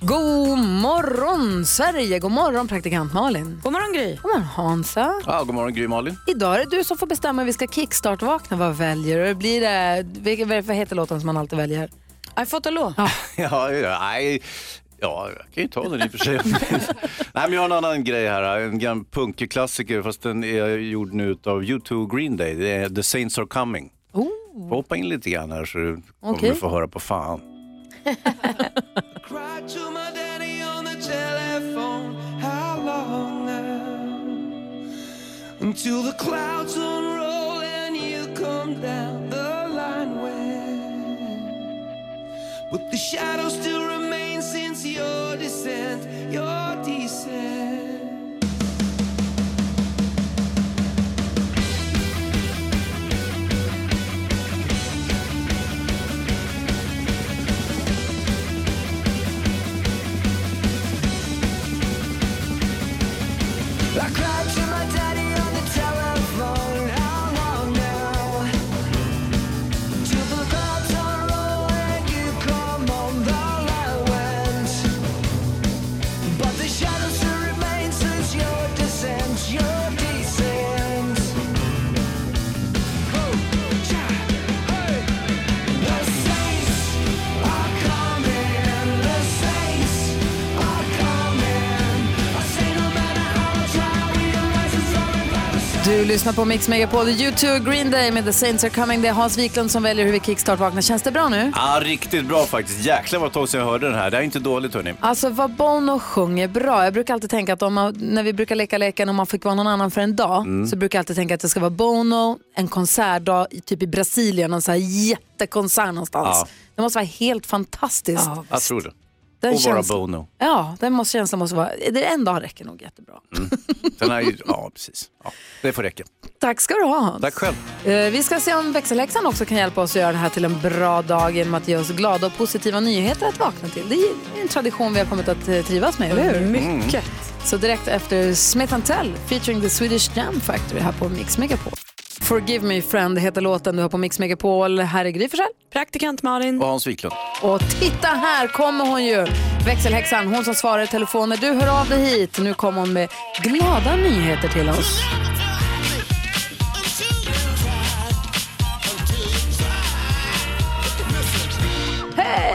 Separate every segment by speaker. Speaker 1: God morgon Sverige! God morgon praktikant Malin.
Speaker 2: God morgon Gry.
Speaker 1: God morgon Hansa.
Speaker 3: Ja, god morgon Gry Malin.
Speaker 1: Idag är det du som får bestämma hur vi ska kickstart-vakna. Vad väljer du? Blir det, vilken- vad heter låten som man alltid väljer?
Speaker 2: I fått a law.
Speaker 3: Ja, ja, nej. Ja, jag kan ju ta den i och för sig. nej, men jag har en annan grej här. En gammal punkklassiker fast den är gjord nu av U2 Green Day. Det är The Saints Are Coming. Får Hoppa in lite grann här så du kommer
Speaker 1: Okej.
Speaker 3: du få höra på fan.
Speaker 4: Cried to my daddy on the telephone. How long now? Until the clouds unroll and you come down the line where. But the shadow still remains since your descent, your descent. I cried to my daddy on the telephone. How long now? Till the clouds unroll and you come on the land. But the shadows still remain since your descent, your descent. The saints are coming. The saints are coming. I say no matter how I try, we are rising, soaring by the sun.
Speaker 1: Du lyssnar på Mix Megapol, U2 Green Day med The Saints Are Coming. Det är Hans Wiklund som väljer hur vi kickstart-vaknar. Känns det bra nu?
Speaker 3: Ja, riktigt bra faktiskt. Jäklar vad tag sedan jag hörde den här. Det här är inte dåligt hörni.
Speaker 1: Alltså vad Bono sjunger bra. Jag brukar alltid tänka att om man, när vi brukar leka leken om man fick vara någon annan för en dag
Speaker 3: Mm.
Speaker 1: så brukar jag alltid tänka att det ska vara Bono, en konsertdag i- typ i Brasilien, någon sån här jättekonsert någonstans.
Speaker 3: Ja.
Speaker 1: Det måste vara helt fantastiskt.
Speaker 3: Jag tror det.
Speaker 1: Den
Speaker 3: Och vara
Speaker 1: känslan-
Speaker 3: Bono.
Speaker 1: Ja, den måste, känslan måste vara, det en dag räcker nog jättebra.
Speaker 3: Den här, är ju- ja, precis. Ja, det får räcka.
Speaker 1: Tack ska du ha Hans.
Speaker 3: Tack själv.
Speaker 1: Eh, Vi ska se om växelhäxan också kan hjälpa oss att göra det här till en bra dag genom att ge oss glada och positiva nyheter att vakna till. Det är en tradition vi har kommit att eh, trivas med, eller hur? Mycket. Så direkt efter Smith Tell featuring the Swedish Jam Factory här på Mix Megapol. Forgive me friend heter låten du har på Mix Megapol. Här är Gry Forssell.
Speaker 2: Praktikant Malin.
Speaker 3: Och Hans Wiklund.
Speaker 1: Och titta här kommer hon ju! Växelhäxan, hon som svarar i telefon när du hör av dig hit. Nu kommer hon med glada nyheter till oss.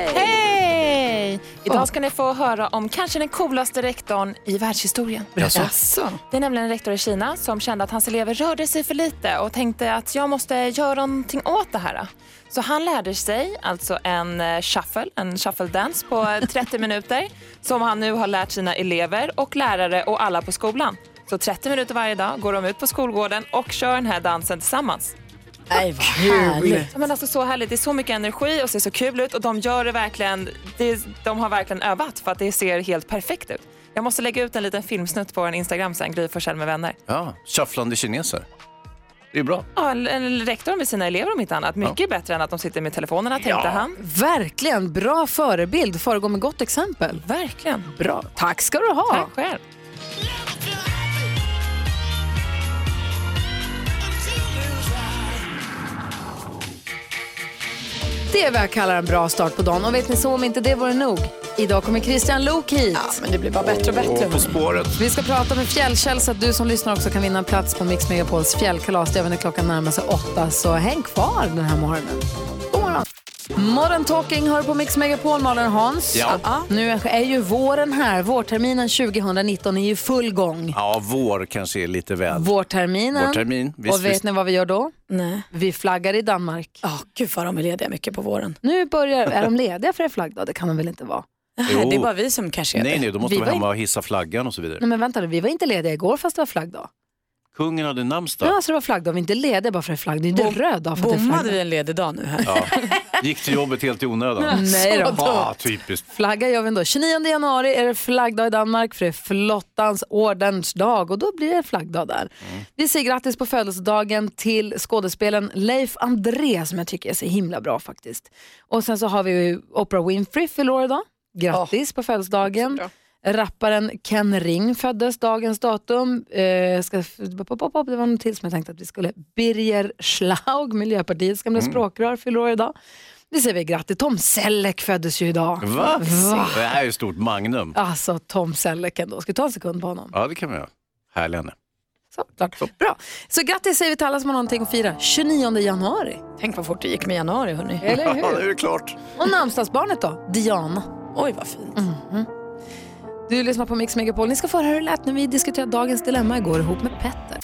Speaker 2: Hej! Idag ska ni få höra om kanske den coolaste rektorn i världshistorien.
Speaker 1: Jaså?
Speaker 2: Det är nämligen en rektor i Kina som kände att hans elever rörde sig för lite och tänkte att jag måste göra någonting åt det här. Så han lärde sig alltså en eh, shuffle, en shuffle dance på eh, 30 minuter som han nu har lärt sina elever och lärare och alla på skolan. Så 30 minuter varje dag går de ut på skolgården och kör den här dansen tillsammans.
Speaker 1: Nej, vad härligt.
Speaker 2: Ja, Men alltså så härligt, det är så mycket energi och ser så kul ut och de gör det verkligen, det, de har verkligen övat för att det ser helt perfekt ut. Jag måste lägga ut en liten filmsnutt på vår Instagram sen, Gry Forssell med vänner.
Speaker 3: Ja, shufflande kineser. Det är bra.
Speaker 2: Ja, en- en rektor med sina elever om inte annat, mycket bättre än att de sitter med telefonerna tänkte han.
Speaker 1: Verkligen bra förebild, föregå med gott exempel.
Speaker 2: Verkligen.
Speaker 1: Bra. Tack ska du ha.
Speaker 2: Tack själv.
Speaker 1: Det är vad jag kallar en bra start på dagen. Och vet ni så, om inte det vore nog. Idag kommer Christian Lok hit.
Speaker 3: Och På spåret.
Speaker 1: Vi ska prata med Fjällkäll så att du som lyssnar också kan vinna en plats på Mix Megapols fjällkalas. Det är även när klockan närmar sig åtta, så häng kvar den här morgonen. God morgon. Modern Talking hör på Mix Megapol, Malin och Hans.
Speaker 3: Ja.
Speaker 1: Nu är ju våren här. Vårterminen 2019 är ju i full gång.
Speaker 3: Ja, vår kanske är lite väl.
Speaker 1: Vårterminen.
Speaker 3: Vårtermin, visst,
Speaker 1: och vet
Speaker 3: visst.
Speaker 1: ni vad vi gör då?
Speaker 5: Nej.
Speaker 1: Vi flaggar i Danmark.
Speaker 5: Ja, gud vad de är lediga mycket på våren.
Speaker 1: Nu börjar, är de lediga för en flaggdag? Det kan de väl inte vara?
Speaker 3: Jo.
Speaker 5: Det är bara vi som kanske är
Speaker 3: Nej,
Speaker 5: det.
Speaker 3: nej, då måste
Speaker 1: Vi
Speaker 3: vi
Speaker 1: var Mm.
Speaker 3: hemma och hissa flaggan och så vidare.
Speaker 1: Nej men vänta nu, vi var inte lediga igår fast det var flaggdag.
Speaker 3: Kungen hade namnsdag.
Speaker 1: Ja, så det var flaggdag. Vi är inte lediga bara för att det är flaggdag. Det är inte röd dag för att det är
Speaker 5: Bommade
Speaker 1: flaggdag.
Speaker 5: vi en ledig dag nu här?
Speaker 3: Ja. Gick till jobbet helt i onödan.
Speaker 1: Nej då.
Speaker 3: Ah, typiskt.
Speaker 1: Flagga gör vi ändå. 29 januari är det flaggdag i Danmark för det är flottans ordens dag och då blir det flaggdag där. Vi säger grattis på födelsedagen till skådespelaren Leif André som jag tycker är så himla bra faktiskt. Och sen så har vi ju Oprah Winfrey fyller år idag. Grattis på födelsedagen. Rapparen Ken Ring föddes dagens datum. Eh, ska, pop, pop, pop, det var något till som jag tänkte att vi skulle. Birger Schlaug, Miljöpartiets gamla språkrör, fyller år idag. Vi säger väl grattis. Tom Selleck föddes ju idag.
Speaker 3: Va? Det här är ju stort magnum.
Speaker 1: Alltså Tom Selleck ändå. Ska vi ta en sekund på honom?
Speaker 3: Ja, det kan man göra. Härlig henne.
Speaker 1: Så, klart. Bra. Så grattis säger vi till alla som har någonting att fira. 29 januari.
Speaker 5: Tänk vad fort det gick med januari hörni.
Speaker 1: Eller
Speaker 3: Ja, nu
Speaker 1: hur?
Speaker 3: är det klart.
Speaker 1: Och namnsdagsbarnet då? Diana. Mhm.
Speaker 5: Oj vad fint.
Speaker 1: Du lyssnar på Mix Megapol. Ni ska få höra hur det lät när vi diskuterade dagens dilemma igår ihop med Petter.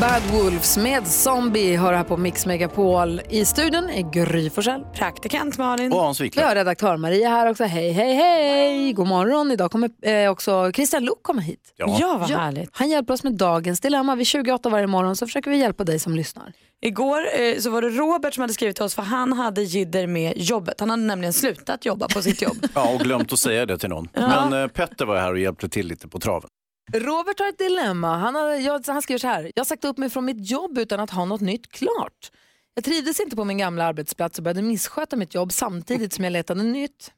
Speaker 1: Bad Wolves med Zombie hör här på Mix Megapol. I studion är Gry Forssell.
Speaker 5: Praktikant Malin.
Speaker 3: Och Hans Wiklund.
Speaker 1: Vi har redaktör Maria här också. Hej, hej, hej! God morgon. Idag kommer eh, också Christian Luuk komma hit.
Speaker 3: Ja.
Speaker 5: Ja vad
Speaker 1: Ja,
Speaker 5: härligt.
Speaker 1: Han hjälper oss med dagens dilemma. Vid 28 varje morgon så försöker vi hjälpa dig som lyssnar.
Speaker 5: Igår eh, så var det Robert som hade skrivit till oss för han hade jidder med jobbet. Han hade nämligen slutat jobba på sitt jobb.
Speaker 3: Ja, och glömt att säga det till någon. Men eh, Petter var här och hjälpte till lite på traven.
Speaker 1: Robert har ett dilemma. Han, har, jag, han skriver så här. Jag har sagt upp mig från mitt jobb utan att ha något nytt klart. Jag trivdes inte på min gamla arbetsplats och började missköta mitt jobb samtidigt som jag letade nytt.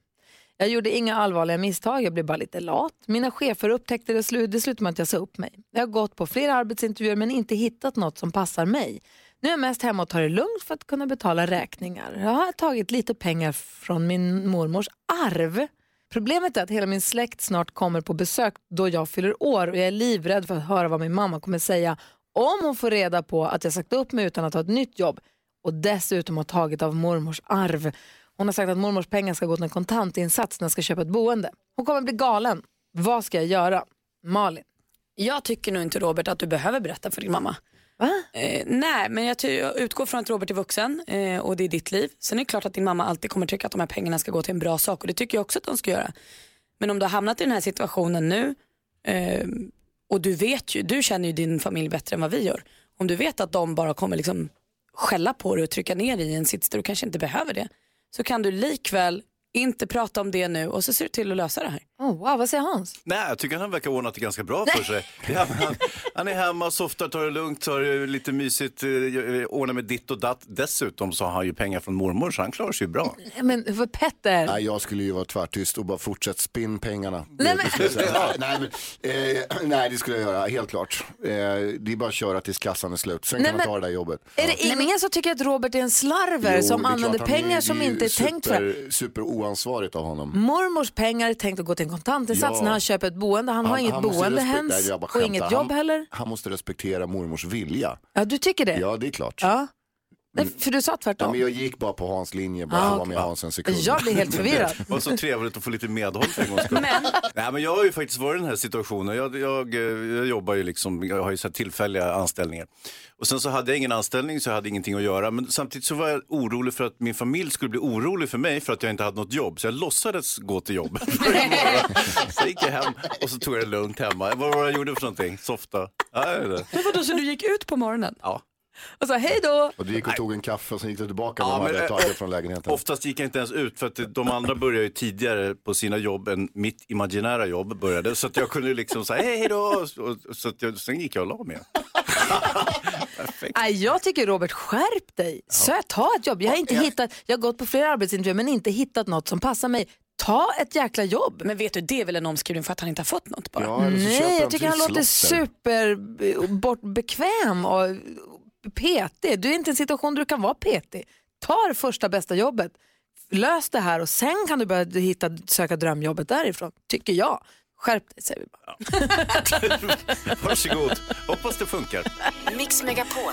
Speaker 1: Jag gjorde inga allvarliga misstag, jag blev bara lite lat. Mina chefer upptäckte det slut, det slutade med att jag sa upp mig. Jag har gått på flera arbetsintervjuer men inte hittat något som passar mig. Nu är jag mest hemma och tar det lugnt för att kunna betala räkningar. Jag har tagit lite pengar från min mormors arv. Problemet är att hela min släkt snart kommer på besök då jag fyller år och jag är livrädd för att höra vad min mamma kommer säga om hon får reda på att jag sagt upp mig utan att ha ett nytt jobb och dessutom har tagit av mormors arv. Hon har sagt att mormors pengar ska gå till en kontantinsats när jag ska köpa ett boende. Hon kommer bli galen. Vad ska jag göra? Malin.
Speaker 5: Jag tycker nog inte Robert att du behöver berätta för din mamma.
Speaker 1: Va?
Speaker 5: Eh, nej, men jag, ty- jag utgår från att Robert är vuxen eh, och det är ditt liv. Sen är det klart att din mamma alltid kommer tycka att de här pengarna ska gå till en bra sak och det tycker jag också att de ska göra. Men om du har hamnat i den här situationen nu eh, och du vet ju, du känner ju din familj bättre än vad vi gör. Om du vet att de bara kommer liksom skälla på dig och trycka ner dig i en sits där du kanske inte behöver det så kan du likväl inte prata om det nu och så ser du till att lösa det här.
Speaker 1: Oh, wow, vad säger Hans?
Speaker 3: Nej, jag tycker han verkar ha ordnat det ganska bra för sig. Ja, men han, han är hemma, softar, tar det lugnt, tar det lite mysigt, eh, ordnar med ditt och datt. Dessutom så har han ju pengar från mormor så han klarar sig ju bra.
Speaker 1: Nej, Men för Petter.
Speaker 6: Nej, jag skulle ju vara tvärtyst och bara fortsätt spinn pengarna.
Speaker 1: Nej,
Speaker 6: Det-
Speaker 1: men-
Speaker 6: det skulle jag säga. Ja, nej, men, eh, nej, det skulle jag göra, helt klart. Eh, det är bara att köra tills kassan är slut, sen
Speaker 1: Nej,
Speaker 6: kan
Speaker 1: men-
Speaker 6: man ta det där jobbet.
Speaker 1: Är det ingen som tycker att Robert är en slarver
Speaker 6: Jo,
Speaker 1: som
Speaker 6: det är klart,
Speaker 1: använder
Speaker 6: han är ju-
Speaker 1: pengar som
Speaker 6: det är ju
Speaker 1: inte är tänkt för?
Speaker 6: super, Super oansvarigt av honom.
Speaker 1: Mormors pengar är tänkt att gå till en kontantinsats
Speaker 6: Ja.
Speaker 1: när han köper ett boende. Han, har inget
Speaker 6: måste
Speaker 1: boende
Speaker 6: respek-
Speaker 1: hens
Speaker 6: Nej, jag bara
Speaker 1: och
Speaker 6: skämtar.
Speaker 1: inget
Speaker 6: Han-
Speaker 1: jobb heller.
Speaker 6: Han måste respektera mormors vilja.
Speaker 1: Ja, du tycker det?
Speaker 6: Ja, det är klart. Mm.
Speaker 1: Ja. Nej, för du sa
Speaker 6: Ja,
Speaker 1: tvärtom.
Speaker 6: men jag gick bara på Hans linje, bara
Speaker 1: Ah,
Speaker 6: ah, var
Speaker 1: okej.
Speaker 6: med Hans en sekund.
Speaker 1: Jag blir helt förvirrad.
Speaker 3: Det var så trevligt att få lite medhåll för en gångs skull. Nej, men jag har ju faktiskt varit i den här situationen. Jag, jag, eh, jag jobbar ju liksom, jag har ju så här tillfälliga anställningar. Och sen så hade jag ingen anställning så jag hade ingenting att göra. Men samtidigt så var jag orolig för att min familj skulle bli orolig för mig för att jag inte hade något jobb. Så jag låtsades gå till jobbet. varje morgon. så gick jag hem och så tog jag det lugnt hemma. Vad var det jag gjorde för någonting? Softa? Ja, jag vet inte.
Speaker 5: Men vadå, så du gick ut på morgonen
Speaker 3: Ja.
Speaker 5: och sa hej då?
Speaker 6: Och du gick och tog en kaffe och sen gick du tillbaka
Speaker 3: Ja,
Speaker 6: när
Speaker 3: men- eh,
Speaker 6: de hade tagit från lägenheten.
Speaker 3: Oftast gick jag inte ens ut för att de andra började ju tidigare på sina jobb än mitt imaginära jobb började. Så att jag kunde liksom säga hej hej då. Och- Så att jag, sen gick jag och la mig.
Speaker 1: Nej, jag tycker Robert, skärp dig. Så ta ett jobb. Jag har, inte hittat, jag har gått på flera arbetsintervjuer men inte hittat något som passar mig. Ta ett jäkla jobb.
Speaker 5: Men vet du, det är väl en omskrivning för att han inte har fått något bara.
Speaker 6: Ja, eller så köper
Speaker 1: Nej, jag tycker han låter
Speaker 6: trisslotter.
Speaker 1: superbekväm och petig. Du är inte i en situation där du kan vara petig. Ta det första bästa jobbet, lös det här och sen kan du börja hitta, söka drömjobbet därifrån, tycker jag. Skärp dig säger vi bara.
Speaker 3: Varsågod, hoppas det funkar.
Speaker 7: Mix Megapol.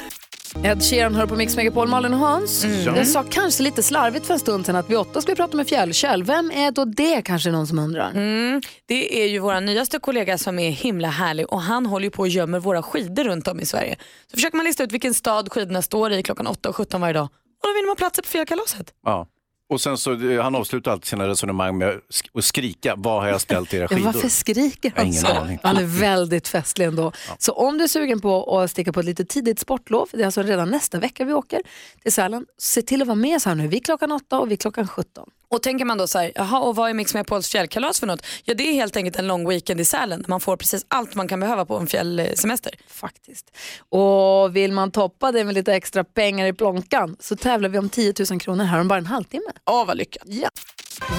Speaker 1: Ed Sheeran hör på Mix Megapol, Malin och Hans.
Speaker 3: Mm.
Speaker 1: Jag sa kanske lite slarvigt för en stund sedan att vi åtta skulle prata med fjällkäll. Vem är då det kanske någon som undrar?
Speaker 3: Mm.
Speaker 5: Mm, Det är ju vår nyaste kollega som är himla härlig och han håller ju på och gömmer våra skidor runt om i Sverige. Så försöker man lista ut vilken stad skidorna står i klockan 8 och 17 varje dag och då vinner man platser på fjällkalaset.
Speaker 3: Ja. Och sen så, eh, han avslutar alltid sina resonemang med att sk- att skrika, vad har jag ställt era
Speaker 1: Ja,
Speaker 3: skidor?
Speaker 1: varför skriker
Speaker 3: Jag har
Speaker 1: han
Speaker 3: ingen
Speaker 1: så?
Speaker 3: aning.
Speaker 1: Han är väldigt festlig ändå. Så om du är sugen på att sticka på ett lite tidigt sportlov, det är alltså redan nästa vecka vi åker till Sälen, se till att vara med så här nu. Vi är klockan 8 och vi är klockan 17.
Speaker 5: Och tänker man då så här, jaha och vad är Mix Megapols fjällkalas för något? Ja det är helt enkelt en lång weekend i Sälen där man får precis allt man kan behöva på en fjällsemester.
Speaker 1: Faktiskt. Och vill man toppa det med lite extra pengar i plånkan så tävlar vi om 10 000 kronor här om bara en halvtimme.
Speaker 5: Åh vad lyckat.
Speaker 1: Ja.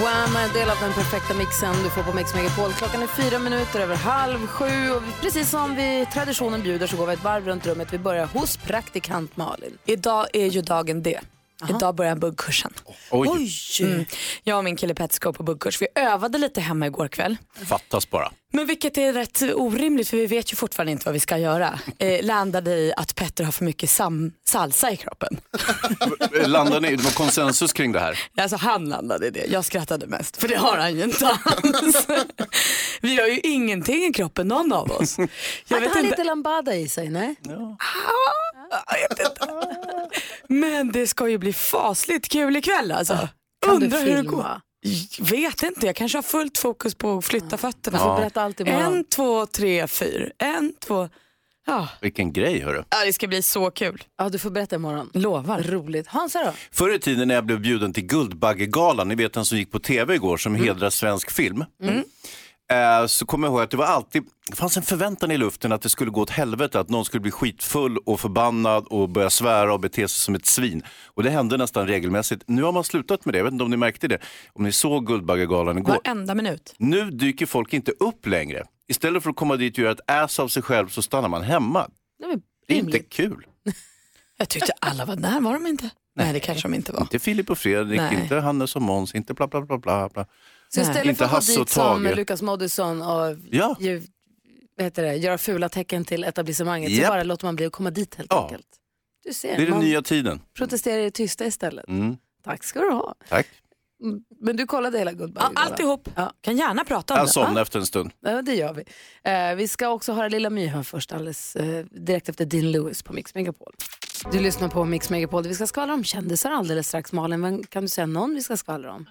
Speaker 1: Wham! är en del av den perfekta mixen du får på Mix Megapol. Klockan är fyra minuter över halv sju och precis som vi traditionen bjuder så går vi ett varv runt rummet. Vi börjar hos praktikant Malin.
Speaker 5: Idag är ju dagen D. Idag börjar buggkursen.
Speaker 3: Oj,
Speaker 5: Mm. Jag och min kille Petter ska på buggkurs. Vi övade lite hemma igår kväll.
Speaker 3: fattas bara.
Speaker 5: Men vilket är rätt orimligt för vi vet ju fortfarande inte vad vi ska göra. Eh, landade i att Petter har för mycket sam- salsa i kroppen.
Speaker 3: Eh, Landar ni, det var konsensus kring det här.
Speaker 5: Alltså han landade i det. Jag skrattade mest för det har han ju inte alls. vi har ju ingenting i kroppen någon av oss. Jag
Speaker 1: Hade han lite lambada i sig? Nej? Ah.
Speaker 5: Jag vet inte. Men det ska ju bli fasligt kul ikväll alltså.
Speaker 1: Kan du
Speaker 5: Undrar hur det går.
Speaker 1: filma?
Speaker 5: Jag Vet inte, jag kanske har fullt fokus på att flytta fötterna.
Speaker 1: får berätta allt imorgon.
Speaker 5: En, två, tre, fyra. En, två. Ja,
Speaker 3: Vilken grej hörru.
Speaker 5: Ja, det ska bli så kul.
Speaker 1: Ja, du får berätta imorgon.
Speaker 5: Lovar.
Speaker 1: Roligt. Hansa då?
Speaker 3: Förr i tiden när jag blev bjuden till Guldbaggegalan, ni vet den som gick på tv igår som
Speaker 1: Mm.
Speaker 3: hedrar svensk film.
Speaker 5: Mm.
Speaker 3: Eh, Så kommer jag ihåg att det var alltid, det fanns en förväntan i luften att det skulle gå åt helvete, att någon skulle bli skitfull och förbannad och börja svära och bete sig som ett svin. Och det hände nästan regelmässigt. Nu har man slutat med det, jag vet inte om ni märkte det, om ni såg Guldbaggegalan igår.
Speaker 5: Varenda minut.
Speaker 3: Nu dyker folk inte upp längre. Istället för att komma dit och göra ett ass av sig själv så stannar man hemma.
Speaker 1: Nej, men
Speaker 3: Det är inte kul.
Speaker 5: Jag tyckte alla var där, var de inte? Nej, det kanske de inte var.
Speaker 3: Inte Filip och Fredrik,
Speaker 5: Nej.
Speaker 3: inte Hannes och Måns, inte bla bla bla bla. bla.
Speaker 1: Så
Speaker 5: Nej.
Speaker 1: istället
Speaker 3: Inte
Speaker 1: för att
Speaker 3: Hasse
Speaker 1: gå
Speaker 3: och
Speaker 1: dit som
Speaker 3: Tage.
Speaker 1: Lukas Moodysson och
Speaker 3: Ja.
Speaker 1: ju, vad heter det, göra fula tecken till etablissemanget så
Speaker 3: Japp.
Speaker 1: bara låter man bli och komma dit helt
Speaker 3: Ja.
Speaker 1: enkelt. Du ser,
Speaker 3: Det är den
Speaker 1: man
Speaker 3: nya tiden.
Speaker 1: protesterar i det tysta istället.
Speaker 3: Mm.
Speaker 1: Tack ska du ha.
Speaker 3: Tack.
Speaker 1: Mm, Men du kollade hela Guldbaggen?
Speaker 5: Ja, alltihop.
Speaker 1: Ja.
Speaker 5: Kan gärna prata om
Speaker 3: Jag
Speaker 5: det.
Speaker 3: somnade efter en stund.
Speaker 1: Ja, det gör vi. Eh, vi ska också höra Lilla My här först, alldeles, eh, direkt efter Dean Lewis på Mix Megapol. Du lyssnar på Mix Megapol. Vi ska skvallra om kändisar alldeles strax. Malin, vem- kan du säga någon vi ska skvallra om?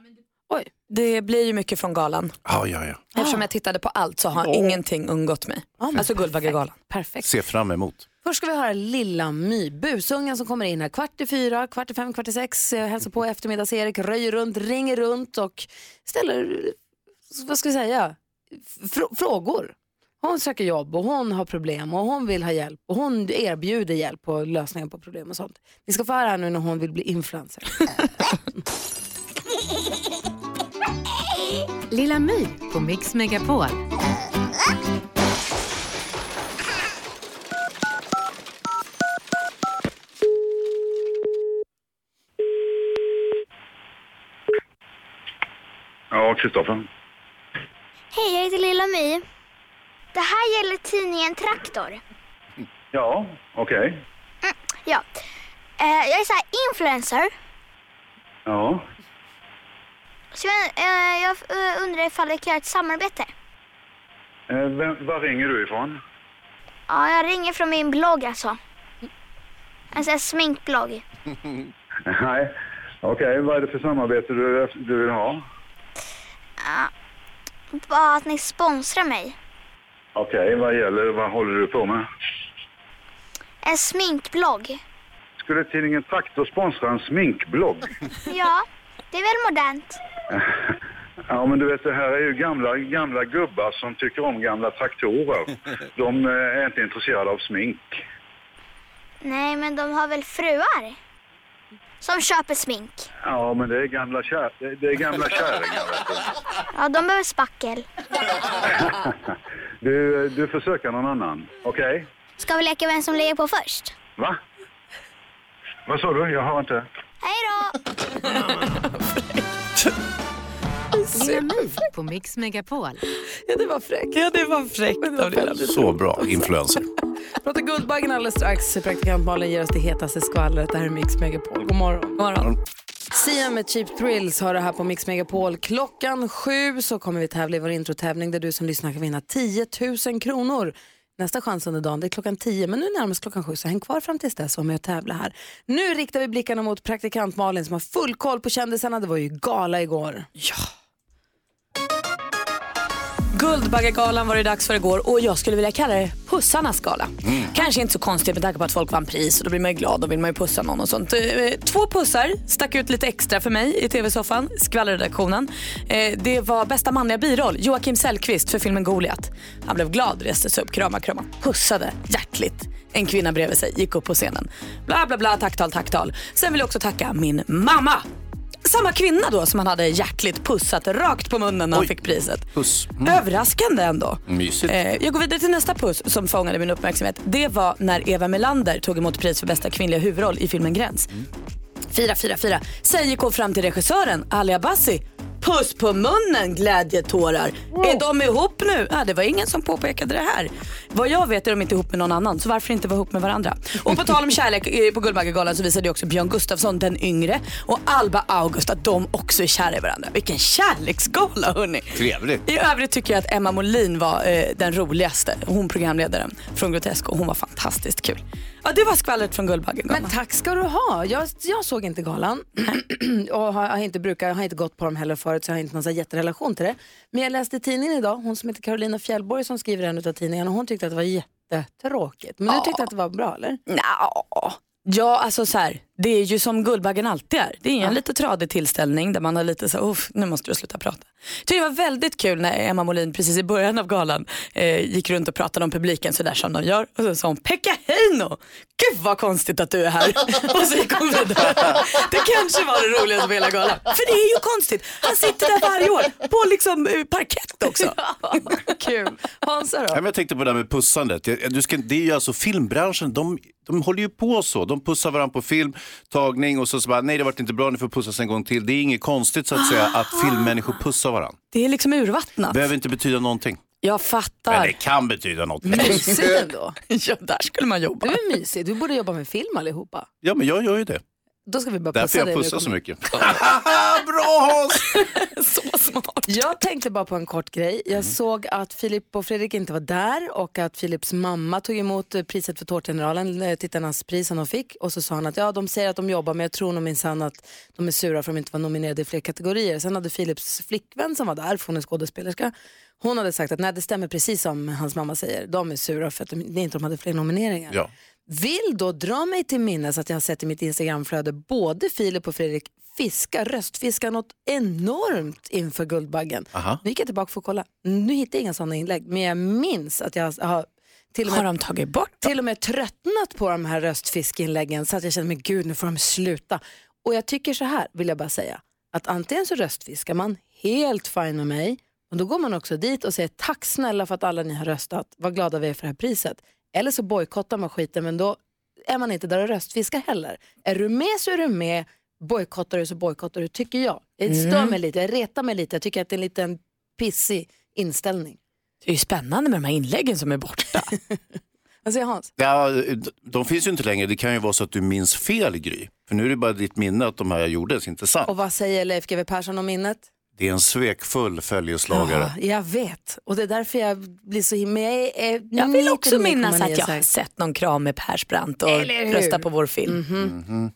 Speaker 5: Det blir ju mycket från galan.
Speaker 3: Ja, ja, ja.
Speaker 5: Eftersom jag tittade på allt så har ingenting undgått mig.
Speaker 1: men
Speaker 5: alltså Guldbaggegalan.
Speaker 1: Perfekt.
Speaker 3: Se fram emot.
Speaker 1: Först ska vi höra Lilla My, busungen som kommer in här kvart i fyra, kvart i fem, kvart i sex, eh, hälsar på eftermiddags-Erik, röjer runt, ringer runt och ställer, vad ska vi säga, fr- frågor. Hon söker jobb och hon har problem och hon vill ha hjälp och hon erbjuder hjälp och lösningar på problem och sånt. Ni ska få höra här nu när hon vill bli influencer.
Speaker 7: Lilla My på Mix Megapol.
Speaker 8: Ja, Kristoffer.
Speaker 9: Hej, jag heter Lilla My. Det här gäller tidningen Traktor.
Speaker 8: Ja, okej.
Speaker 9: Ja. Eh, jag är så här influencer.
Speaker 8: Ja.
Speaker 9: Så jag, eh, jag eh, undrar ifall vi kan göra ett samarbete.
Speaker 8: Eh, vem, var ringer du ifrån?
Speaker 9: Ja, jag ringer från min blogg alltså. En sån här sminkblogg.
Speaker 8: Nej. Okej, vad är det för samarbete du, du vill ha?
Speaker 9: Bara att ni sponsrar mig.
Speaker 8: Okej, vad gäller, vad håller du på med?
Speaker 9: En sminkblogg.
Speaker 8: Skulle tidningen Traktor sponsra en sminkblogg?
Speaker 9: Ja, det är väl modernt.
Speaker 8: Ja, men du vet, det här är ju gamla, gamla gubbar som tycker om gamla traktorer. De eh, är inte intresserade av smink.
Speaker 9: Nej, men de har väl fruar? Som köper smink.
Speaker 8: Ja, men det är gamla, kär, det, det är gamla kärringar, vet du.
Speaker 9: Ja, de behöver spackel.
Speaker 8: du. eh, Du får söka någon annan, okej?
Speaker 9: Ska vi leka vem som lägger på först?
Speaker 8: Va? Vad sa du? Jag har inte...
Speaker 9: Hej då!
Speaker 7: Lilla My på Mix Megapol.
Speaker 1: Ja, det var fräckt.
Speaker 5: Ja, det var fräckt av Lilla My.
Speaker 3: Så bra, influencer.
Speaker 1: Prata Guldbaggen alldeles strax. Praktikant Malin ger oss det hetaste skvallret. Det här är Mix Megapol. God morgon. God morgon. Sia med Cheap Thrills har det här på Mix Megapol. Klockan sju så kommer vi tävla i vår introtävling där du som lyssnar kan vinna 10 000 kronor. Nästa chans under dagen det är klockan 10 men nu närmast klockan 7 så häng kvar fram tills dess och var med och tävla här. Nu riktar vi blickarna mot praktikant Malin som har full koll på kändisarna. Det var ju gala igår. Ja.
Speaker 5: Guldbaggegalan var det dags för igår och jag skulle vilja kalla det pussarnas gala.
Speaker 4: Mm.
Speaker 5: Kanske inte så konstigt med tanke på att folk vann pris och då blir man ju glad och vill man ju pussa någon och sånt. Eh, Två pussar stack ut lite extra för mig i tv-soffan, skvallerredaktionen. Eh, Det var bästa manliga biroll, Joakim Sellqvist för filmen Goliat. Han blev glad, reste sig upp, kramade, kramade, pussade hjärtligt. En kvinna bredvid sig gick upp på scenen. Bla, bla, bla, tacktal, tacktal. Sen vill jag också tacka min mamma. Samma kvinna då som han hade hjärtligt pussat rakt på munnen när han fick priset.
Speaker 3: Puss.
Speaker 5: Överraskande ändå.
Speaker 3: Mysigt.
Speaker 5: Eh, jag går vidare till nästa puss som fångade min uppmärksamhet. Det var när Eva Melander tog emot pris för bästa kvinnliga huvudroll i filmen Gräns. Fyra, fyra, fyra. Sen gick hon fram till regissören Ali Abassi. Puss på munnen glädjetårar. Är de ihop nu? Ja, det var ingen som påpekade det här. Vad jag vet är de inte ihop med någon annan, så varför inte vara ihop med varandra? Och på tal om kärlek eh, på Guldbaggegalan så visade ju också Björn Gustafsson, den yngre, och Alba August att de också är kära i varandra. Vilken kärleksgala hörni!
Speaker 3: Trevligt.
Speaker 5: I övrigt tycker jag att Emma Molin var eh, den roligaste. Hon programledaren från Grotesco. Hon var fantastiskt kul. Ja, det var skvallret från Guldbaggegalan.
Speaker 1: Men tack ska du ha. Jag, jag såg inte galan och har, har, inte brukat, jag har inte gått på dem heller förut så jag har inte någon så här jätterelation till det. Men jag läste i tidningen idag, hon som heter Carolina Fjällborg som skriver en av tidningarna och hon tyckte att det var jättetråkigt. Men du tyckte att det var bra eller?
Speaker 5: Nja, ja alltså så här, det är ju som Guldbaggen alltid är. Det är en lite tradig tillställning där man har lite så här, "Uff, nu måste du sluta prata. Jag tycker det var väldigt kul när Emma Molin precis i början av galan eh, gick runt och pratade om publiken så där som de gör och så sa hon Pekka Heino, gud vad konstigt att du är här. och så gick hon vidare. Det kanske var det roligaste på hela galan. För det är ju konstigt, han sitter där varje år på liksom eh, parkett också.
Speaker 1: Kul. Hansa då?
Speaker 3: Ja, men jag tänkte på det här med pussandet. Jag- Du ska, det är ju alltså filmbranschen, de, de håller ju på så. De pussar varandra på film, tagning och så, så bara, nej det vart inte bra, ni får pussas en gång till. Det är inget konstigt så att säga
Speaker 1: Ah.
Speaker 3: att filmmänniskor pussar varandra.
Speaker 5: Det är liksom urvattnat.
Speaker 3: Behöver inte betyda någonting.
Speaker 5: Jag
Speaker 3: Men
Speaker 5: fattar.
Speaker 3: det kan betyda något.
Speaker 1: Mysigt ändå.
Speaker 5: ja, där skulle man jobba.
Speaker 1: Du är mysig, du borde jobba med film allihopa.
Speaker 3: Ja, men jag gör ju det.
Speaker 1: Då ska vi bara
Speaker 3: Därför
Speaker 1: pussa
Speaker 3: jag
Speaker 1: dig när du
Speaker 3: pussar så
Speaker 1: kommer.
Speaker 3: mycket.
Speaker 1: Bra
Speaker 3: Hans!
Speaker 5: så smart.
Speaker 1: Jag tänkte bara på en kort grej. Jag såg att Filip och Fredrik inte var där och att Filips mamma tog emot eh, priset för Tårtgeneralen, eh, tittarnas pris som de fick. Och så sa han att ja, de säger att de jobbar men jag tror nog minsann att de är sura för att de inte var nominerade i fler kategorier. Sen hade Filips flickvän som var där, för hon är skådespelerska, hon hade sagt att nej det stämmer precis som hans mamma säger. De är sura för att de, det är inte de hade fler nomineringar.
Speaker 4: Ja.
Speaker 1: Vill då dra mig till minnes att jag har sett i mitt Instagramflöde både Filip och Fredrik fiska, röstfiska något enormt inför Guldbaggen.
Speaker 4: Aha.
Speaker 1: Nu gick jag tillbaka för att kolla. Nu hittade jag inga sådana inlägg, men jag minns att jag har till och med,
Speaker 5: Har de tagit bort
Speaker 1: Till och med tröttnat på de här röstfiskinläggen så att jag känner mig gud nu får de sluta. Och jag tycker så här, vill jag bara säga, att antingen så röstfiskar man, helt fine med mig, men då går man också dit och säger tack snälla för att alla ni har röstat, vad glada vi är för det här priset. Eller så bojkottar man skiten, men då är man inte där och röstfiskar heller. Är du med så är du med, bojkottar du så bojkottar du, tycker jag. Det stör
Speaker 5: Mm.
Speaker 1: mig lite, jag retar mig lite, jag tycker att det är en liten pissig inställning.
Speaker 5: Det är ju spännande med de här inläggen som är borta.
Speaker 1: Vad säger Hans?
Speaker 3: Ja, de finns ju inte längre. Det kan ju vara så att du minns fel, Gry. För nu är det bara ditt minne att de här gjordes, inte sant?
Speaker 1: Och vad säger Leif GW Persson om minnet?
Speaker 3: Det är en svekfull följeslagare.
Speaker 1: Ja, jag vet. Och det är därför jag blir så himla... Jag, är- är
Speaker 5: Jag vill också
Speaker 1: 99,9
Speaker 5: minnas att jag har
Speaker 1: säker.
Speaker 5: sett någon kram med Persbrandt och
Speaker 1: Eller hur? Mhm.
Speaker 5: rösta på vår film.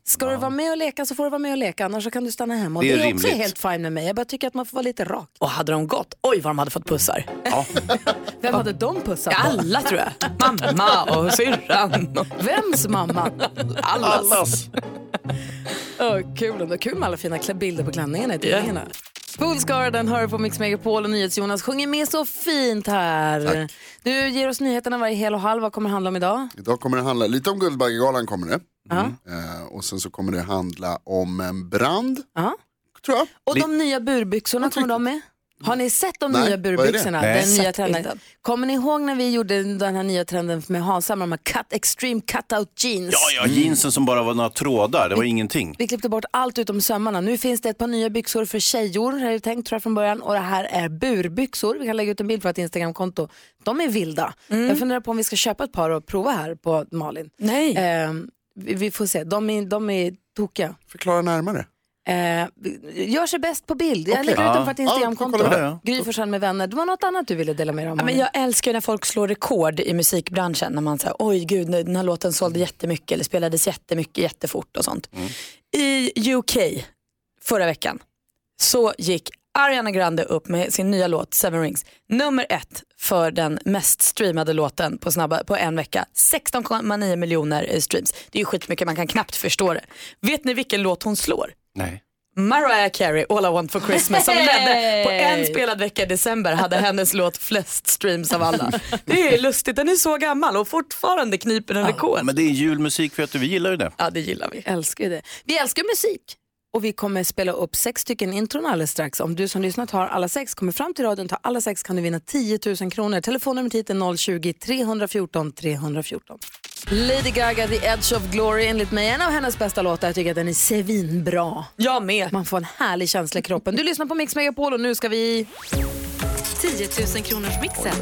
Speaker 1: Ska du vara med och leka så får du vara med och leka, annars så kan du stanna hemma. Och
Speaker 5: Det
Speaker 1: det
Speaker 5: är
Speaker 1: är, också
Speaker 5: rimligt.
Speaker 1: helt fine med mig. Jag bara tycker att man får vara lite rak.
Speaker 5: Och hade de gått, oj vad de hade fått pussar.
Speaker 1: Vem hade de pussat då?
Speaker 5: Alla tror jag. Mamma och syrran.
Speaker 1: Vems mamma?
Speaker 5: Allas.
Speaker 1: Åh, kul ändå. Kul med alla fina kla- bilder på klänningarna i tidningarna. Fools Garden hör på Mix Megapol och NyhetsJonas sjunger med så fint här. Du ger oss nyheterna varje hel och halv. Vad kommer det handla om idag?
Speaker 10: Idag kommer det handla, lite om Guldbaggegalan kommer det.
Speaker 1: Ja. Mm.
Speaker 10: Eh, och sen så kommer det handla om en brand.
Speaker 1: Ja.
Speaker 10: Tror jag.
Speaker 1: Och de nya burbyxorna kommer de med? Har ni sett de
Speaker 10: Nej,
Speaker 1: nya
Speaker 10: vad är det?
Speaker 1: burbyxorna?
Speaker 10: Nej.
Speaker 1: Den nya
Speaker 10: Sett
Speaker 1: trenden.
Speaker 10: inte.
Speaker 1: Kommer ni ihåg när vi gjorde den här nya trenden med Hansa med de här cut, extreme cut-out jeans?
Speaker 3: Ja, ja, jeansen som bara var några trådar, det var ingenting.
Speaker 1: Vi klippte bort allt utom sömmarna. Nu finns det ett par nya byxor för tjejor, hade jag tänkt tror jag från början. Och det här är burbyxor. Vi kan lägga ut en bild på ett Instagramkonto. De är vilda. Jag funderar på om vi ska köpa ett par och prova här på Malin. Ehm,
Speaker 5: Nej.
Speaker 1: vi, vi får se. De är, de är tokiga.
Speaker 10: Förklara närmare.
Speaker 1: Eh, gör sig bäst på bild. Jag
Speaker 5: Okej.
Speaker 1: lägger ut
Speaker 5: Ja.
Speaker 1: den på ett
Speaker 5: Ja,
Speaker 1: Instagramkonto.
Speaker 5: kolla där, ja.
Speaker 1: Gry Forssell med vänner. Det var något annat du ville dela med dig om.
Speaker 5: Ja, men
Speaker 1: Malin.
Speaker 5: jag älskar ju när folk slår rekord i musikbranschen. När man säger oj gud den här låten sålde jättemycket eller spelades jättemycket jättefort och sånt. I UK förra veckan så gick Ariana Grande upp med sin nya låt Seven Rings. Nummer ett för den mest streamade låten på, snabba, på en vecka. 16,9 miljoner eh, streams. Det är ju skitmycket, man kan knappt förstå det. Vet ni vilken låt hon slår?
Speaker 3: Nej.
Speaker 5: Mariah Carey, All I Want For Christmas, som ledde på en spelad vecka i december hade hennes låt flest streams av alla. Det är lustigt, den är så gammal och fortfarande kniper den rekord.
Speaker 3: Men det är julmusik, vet du. Vi gillar ju det.
Speaker 5: Ja, det gillar vi.
Speaker 1: älskar ju det. Vi älskar musik. Och vi kommer spela upp sex stycken intron alldeles strax. Om du som lyssnat har alla sex, kommer fram till radion, tar alla sex kan du vinna 10 000 kronor. Telefonnumret hit är 020-314 314. Lady Gaga, The Edge of Glory, enligt mig en av hennes bästa låtar. Jag tycker att den är svinbra.
Speaker 5: Jag med.
Speaker 1: Man får en härlig känsla i kroppen. Du lyssnar på Mix Megapol och nu ska vi...
Speaker 7: 10 000 kronors mixen.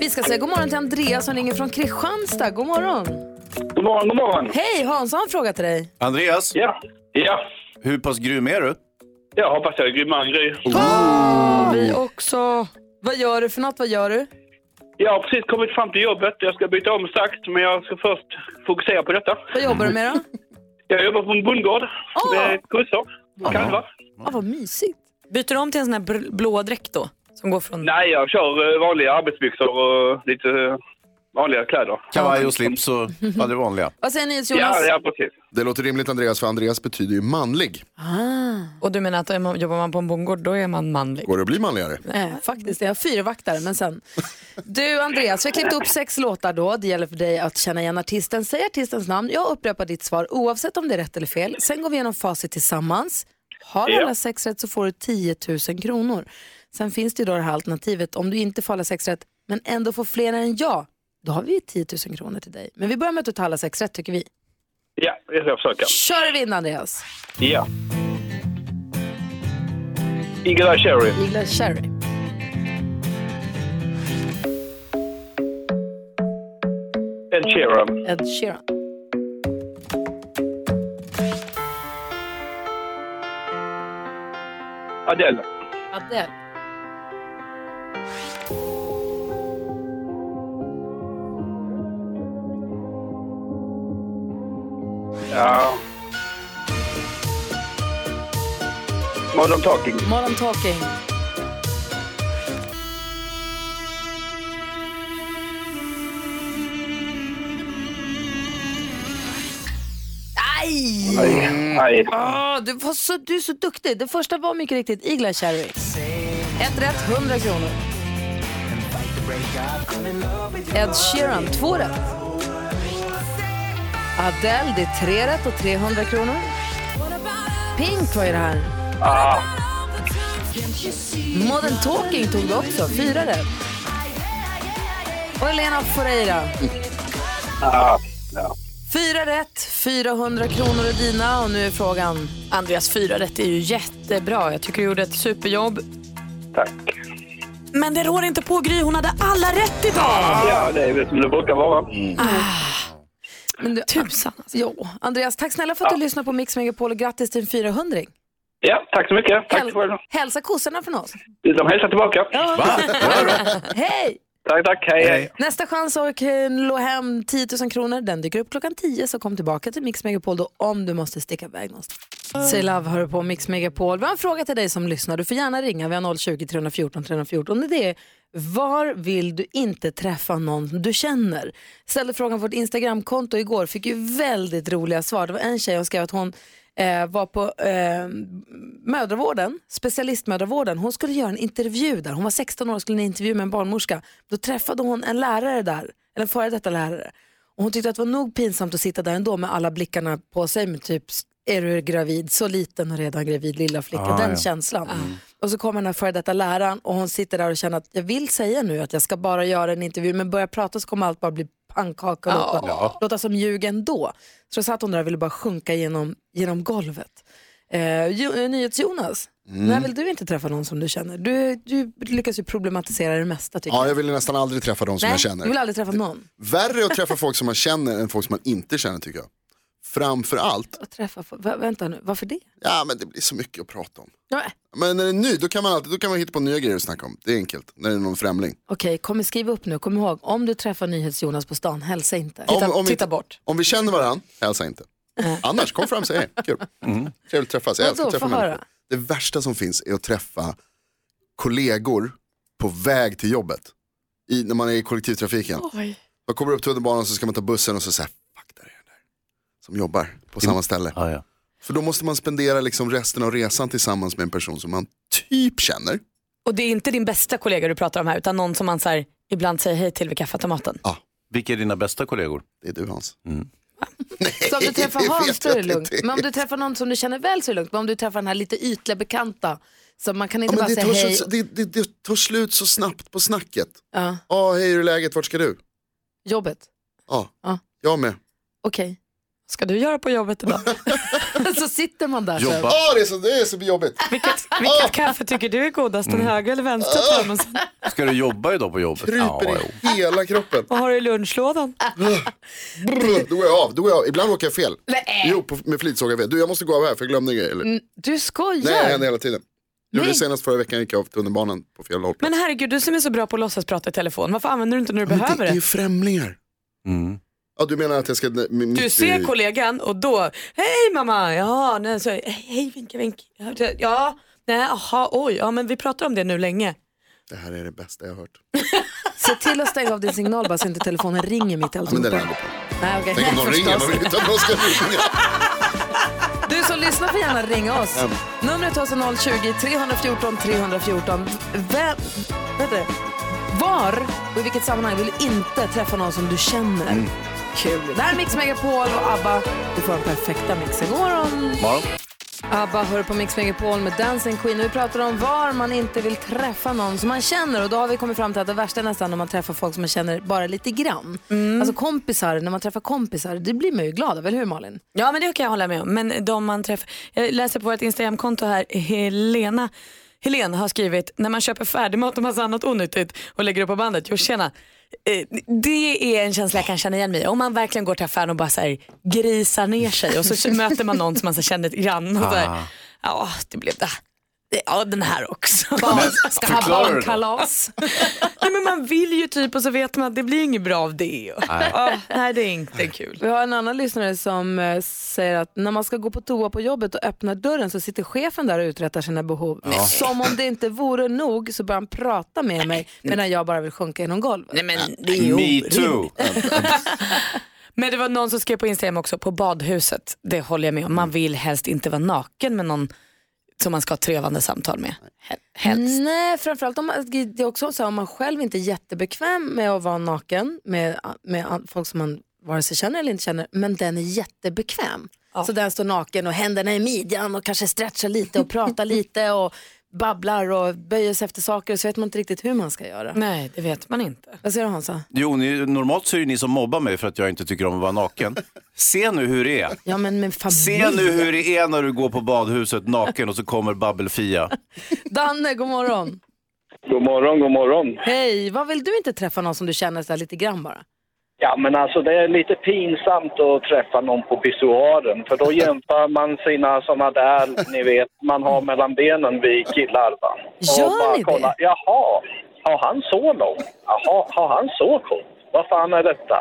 Speaker 1: Vi ska säga god morgon till Andreas som ringer från Kristianstad. God morgon!
Speaker 11: God morgon, god morgon.
Speaker 1: Hej, Hans har en fråga till dig.
Speaker 3: Andreas?
Speaker 11: Ja. ja.
Speaker 3: Hur pass grym är du? Oh.
Speaker 11: Jag hoppas jag är grymmare än Gry.
Speaker 1: Vi också. Vad gör du för något? Vad gör du?
Speaker 11: Jag har precis kommit fram till jobbet. Jag ska byta om strax, men jag ska först fokusera på detta.
Speaker 1: Vad jobbar du med då?
Speaker 11: Jag jobbar på en bondgård med kossor och kalvar.
Speaker 1: Ah, vad mysigt.
Speaker 5: Byter du om till en sån här br- blå dräkt då? Som går från...
Speaker 11: Nej, jag kör eh, vanliga arbetsbyxor och lite eh, vanliga kläder.
Speaker 3: Kavaj och slips och ja, det vanliga.
Speaker 1: Vad säger ni, Jonas?
Speaker 11: Ja, ja, precis.
Speaker 10: Det låter rimligt Andreas, för Andreas betyder ju manlig.
Speaker 5: Ah. Och du menar att är man- jobbar man på en bondgård då är man manlig?
Speaker 10: Går det att bli manligare?
Speaker 1: Nej, Eh, faktiskt. Jag har fyra vaktare, men sen. Du, Andreas, vi har klippt upp sex låtar då. Det gäller för dig att känna igen artisten. Säg artistens namn. Jag upprepar ditt svar oavsett om det är rätt eller fel. Sen går vi igenom facit tillsammans. Har du
Speaker 5: Ja.
Speaker 1: alla sex rätt så får du 10 000 kronor. Sen finns det ju då det här alternativet. Om du inte får alla sex rätt, men ändå får fler än jag, då har vi 10 000 kronor till dig. Men vi börjar med att du tar alla sex rätt, tycker vi.
Speaker 11: Ja, jag ska försöka.
Speaker 1: Kör vi in, Andreas.
Speaker 11: Ja. Eagle Eye Cherry.
Speaker 1: Eagle Cherry.
Speaker 11: Ed Sheeran.
Speaker 1: Ed Sheeran.
Speaker 11: Adele.
Speaker 1: Adele.
Speaker 11: Ja. Modern Talking.
Speaker 1: Modern Talking. Aj!
Speaker 11: Aj, aj.
Speaker 1: Ah, du, var så, du är så duktig. Det första var mycket riktigt Eagle Eye Cherry. Ett rätt, 100 kronor. Ed Sheeran, två rätt. Adele, det är tre rätt och 300 kronor. Pink var ju det här.
Speaker 11: Ah.
Speaker 1: Modern Talking tog du också, fyra rätt. Och Elena Foreira,
Speaker 11: Ah. Ja.
Speaker 1: fyra rätt, 400 kronor är dina och nu är frågan.
Speaker 5: Andreas, fyra rätt är ju jättebra. Jag tycker du gjorde ett superjobb.
Speaker 11: Tack.
Speaker 5: Men det rår inte på Gry, hon hade alla rätt idag!
Speaker 11: Ja, det är väl som det brukar vara.
Speaker 3: Mm.
Speaker 1: Men du, Tusan alltså. Jo, Andreas, tack snälla för att du lyssnar på Mix Megapol och grattis till en 400
Speaker 11: Ja, tack så mycket. Tack själv.
Speaker 1: Hälsa kossorna från oss.
Speaker 11: De hälsar tillbaka.
Speaker 1: Hej!
Speaker 11: Tack, tack. Hej, hej.
Speaker 1: Nästa chans att nå hem 10 000 kronor, den dyker upp klockan 10 så kom tillbaka till Mix Megapol då om du måste sticka iväg någonstans. Say Love hör du på Mix Megapol. Vi har en fråga till dig som lyssnar. Du får gärna ringa. Vi har 020-314 314. Det är var vill du inte träffa någon du känner? Ställde frågan på vårt Instagramkonto igår. Fick ju väldigt roliga svar. Det var en tjej som skrev att hon eh, var på eh, mödravården, specialistmödravården. Hon skulle göra en intervju där. Hon var 16 år och skulle göra en intervju med en barnmorska. Då träffade hon en lärare där, eller en före detta lärare. Och hon tyckte att det var nog pinsamt att sitta där ändå med alla blickarna på sig. Med typ, är du gravid? Så liten och redan gravid lilla flicka.
Speaker 12: Ah,
Speaker 1: Den
Speaker 12: ja.
Speaker 1: känslan.
Speaker 10: Mm.
Speaker 1: Och så kommer den här före detta läraren och hon sitter där och känner att jag vill säga nu att jag ska bara göra en intervju men börjar prata så kommer allt bara bli pannkaka och låta,
Speaker 12: Ja.
Speaker 1: låta som ljug ändå. Så då satt hon där och ville bara sjunka genom, genom golvet. Eh, Jo- eh, NyhetsJonas,
Speaker 10: Mm.
Speaker 1: när vill du inte träffa någon som du känner? Du, du lyckas ju problematisera det mesta tycker
Speaker 10: Ja, jag vill ju nästan aldrig träffa de som
Speaker 1: Nej,
Speaker 10: jag känner.
Speaker 1: Du vill aldrig träffa någon?
Speaker 10: Värre att träffa folk som man känner än folk som man inte känner tycker jag. framför allt,
Speaker 1: Och träffa, fo- vä- vänta nu, varför det?
Speaker 10: ja men det blir så mycket att prata om.
Speaker 1: Nej.
Speaker 10: Men när den är ny, då kan man alltid då kan man hitta på nya grejer att snacka om. Det är enkelt, när det är någon främling.
Speaker 1: Okej, kom, skriv upp nu. Kom ihåg, om du träffar NyhetsJonas på stan, hälsa inte.
Speaker 10: Om- om vi- Om vi känner varandra, hälsa inte. Annars, kom fram och säg hej. Kul. Trevligt att träffas. Jag
Speaker 1: Mm. Vadå,
Speaker 10: älskar att träffa
Speaker 1: få höra.
Speaker 10: människor. Det värsta som finns är att träffa kollegor på väg till jobbet. I, när man är i kollektivtrafiken.
Speaker 4: Oj.
Speaker 10: Man kommer upp tunnelbanan så ska man ta bussen och så säger fuck där är den där. Som jobbar på samma ställe. För då måste man spendera liksom resten av resan tillsammans med en person som man typ känner.
Speaker 5: Och det är inte din bästa kollega du pratar om här utan någon som man så här, ibland säger hej till vid kaffeautomaten.
Speaker 3: Ah, Vilka är dina bästa kollegor?
Speaker 10: Det är du Hans.
Speaker 3: Mm.
Speaker 1: Så om du
Speaker 10: det
Speaker 1: träffar
Speaker 10: vet
Speaker 1: Hans då är det
Speaker 10: jag
Speaker 1: lugnt.
Speaker 10: inte.
Speaker 1: Men om du träffar någon som du känner väl så är det lugnt. Men om du träffar den här lite ytliga bekanta, så man kan
Speaker 10: Ja,
Speaker 1: inte
Speaker 10: men
Speaker 1: bara
Speaker 10: det,
Speaker 1: säga
Speaker 10: tar
Speaker 1: hej.
Speaker 10: slut, det, det, det tar slut så snabbt på snacket.
Speaker 1: Ja,
Speaker 10: Ja, hej hur är läget, vart ska du?
Speaker 1: jobbet,
Speaker 10: Ja,
Speaker 1: Ja.
Speaker 10: jag med.
Speaker 1: okej. Vad ska du göra på jobbet idag? så sitter man där. så här.
Speaker 10: Jobba. Ja, det, är så, det är så jobbigt.
Speaker 5: Vilket, vilket kaffe tycker du är godast,
Speaker 10: Mm.
Speaker 5: den höger eller vänstra termosen?
Speaker 3: Ska du jobba idag på jobbet? Ja,
Speaker 10: Kryper
Speaker 3: jo.
Speaker 10: i hela kroppen.
Speaker 5: Vad har du i lunchlådan?
Speaker 10: Brr, Då går jag av, då går jag av. Ibland åker jag fel.
Speaker 1: Nej.
Speaker 10: Jo, på, med flit såg jag fel. Du, jag måste gå av här för jag glömde en grej. Eller?
Speaker 1: Mm, Du skojar?
Speaker 10: Nej, det händer hela tiden. Gjorde det
Speaker 5: Nej.
Speaker 10: senast förra veckan, gick jag av tunnelbanan på fel håll.
Speaker 5: Men herregud, du som är så bra på att låtsas prata i telefon, varför använder du inte när du
Speaker 10: Men
Speaker 5: behöver
Speaker 10: det är
Speaker 5: det?
Speaker 10: ju främlingar.
Speaker 3: Mm.
Speaker 10: Ja, du menar att jag ska...
Speaker 5: Du ser kollegan och då, hej mamma, ja, nej, så, hej, hej vinka vink, ja, nej, aha, oj, ja men vi pratar om det nu länge.
Speaker 10: Det här är det bästa jag har hört.
Speaker 1: Se till att stänga av din signal bara så inte telefonen ringer mitt i
Speaker 10: Ja, men den är
Speaker 1: alltihopa.
Speaker 10: ändå på.
Speaker 1: Nej, okej.
Speaker 10: Tänk om någon ringer, man vill inte att någon ska ringa.
Speaker 1: Du som lyssnar får gärna ringa oss.
Speaker 10: Ja.
Speaker 1: Numret till oss är 020-314 314. Vem, vet du, var och i vilket sammanhang vill du inte träffa någon som du känner? Kul. Det här är Mix Megapol och ABBA. Du får den perfekta mixen. God morgon!
Speaker 3: Morgon.
Speaker 1: ABBA hör på Mix Megapol med Dancing Queen. Och vi pratar om var man inte vill träffa någon som man känner. Och då har vi kommit fram till att det värsta är nästan när man träffar folk som man känner bara lite grann. Alltså kompisar, när man träffar kompisar, det blir man ju glad av, eller hur Malin?
Speaker 5: Ja men det kan jag hålla med om. Men de man träffar, jag läser på vårt Instagramkonto här, Helena Helen har skrivit, när man köper färdigmat och massa annat onyttigt och lägger upp på bandet, jo tjena. Eh, Det är en känsla jag kan känna igen mig i. Om man verkligen går till affären och bara så här, grisar ner sig och så möter man någon som man så här känner grann. Och så här,
Speaker 3: Ah.
Speaker 5: ja, det blev det. Ja, den här också.
Speaker 3: Men,
Speaker 5: Ska ha
Speaker 3: förklara det då.
Speaker 5: barnkalas. Nej, men man vill ju typ och så vet man att det blir inget bra av det. Och,
Speaker 1: Nej.
Speaker 5: ja, nej, det är inte kul.
Speaker 1: Vi har en annan lyssnare som eh, säger att när man ska gå på toa på jobbet och öppnar dörren så sitter chefen där och uträttar sina behov.
Speaker 5: Ja.
Speaker 1: Som om det inte vore nog så börjar han prata med mig medan jag bara vill sjunka genom golvet.
Speaker 5: Nej, men det är ju
Speaker 3: Me too.
Speaker 5: Men det var någon som skrev på Instagram också, på badhuset, det håller jag med om. Man vill helst inte vara naken med någon som man ska ha trevande samtal med.
Speaker 1: Nej, framförallt om man, det är också så här, om man själv inte är jättebekväm med att vara naken med, med an- folk som man vare sig känner eller inte känner, men den är jättebekväm. Så den står naken och händerna i midjan och kanske stretchar lite och pratar lite och babblar och böjer sig efter saker och så vet man inte riktigt hur man ska göra.
Speaker 5: Nej, det vet man inte.
Speaker 1: Vad säger du Hansa?
Speaker 3: Jo, ni, normalt så är det ni som mobbar mig för att jag inte tycker om att vara naken. Se nu hur det är.
Speaker 1: Ja men med familj.
Speaker 3: Se nu hur det är när du går på badhuset naken och så kommer Babbelfia.
Speaker 1: Danne, god morgon.
Speaker 11: God morgon, god morgon.
Speaker 1: Hej, vad vill du inte träffa någon som du känner så här lite grann bara?
Speaker 11: Ja, men alltså det är lite pinsamt att träffa någon på pissoaren för då jämför man sina sådana där, ni vet, man har mellan benen vi killar va.
Speaker 1: Gör ni det?
Speaker 11: det? Jaha, har han så lång? Jaha, har han så kort? Vad fan är detta?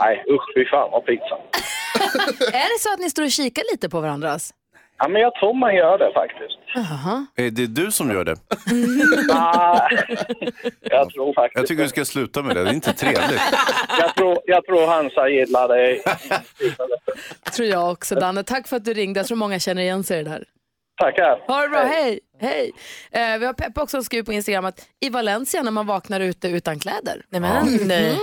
Speaker 11: Nej, usch, fy fan vad pinsamt.
Speaker 1: är det så att ni står och kikar lite på varandras?
Speaker 11: Ja, men jag tror man gör det faktiskt.
Speaker 1: Jaha.
Speaker 3: Är det du som gör det?
Speaker 11: Ah, jag tror faktiskt
Speaker 3: Jag tycker du ska sluta med det, det är inte trevligt.
Speaker 11: jag, tror, jag tror Hansa gillar det.
Speaker 1: Tror jag också Danne. Tack för att du ringde. Jag tror många känner igen sig i det där.
Speaker 11: Tackar.
Speaker 1: Ha det bra, hej! hej. Eh, vi har Peppa också som skriver på Instagram att i Valencia när man vaknar ute utan kläder. Nej,
Speaker 5: men, nej.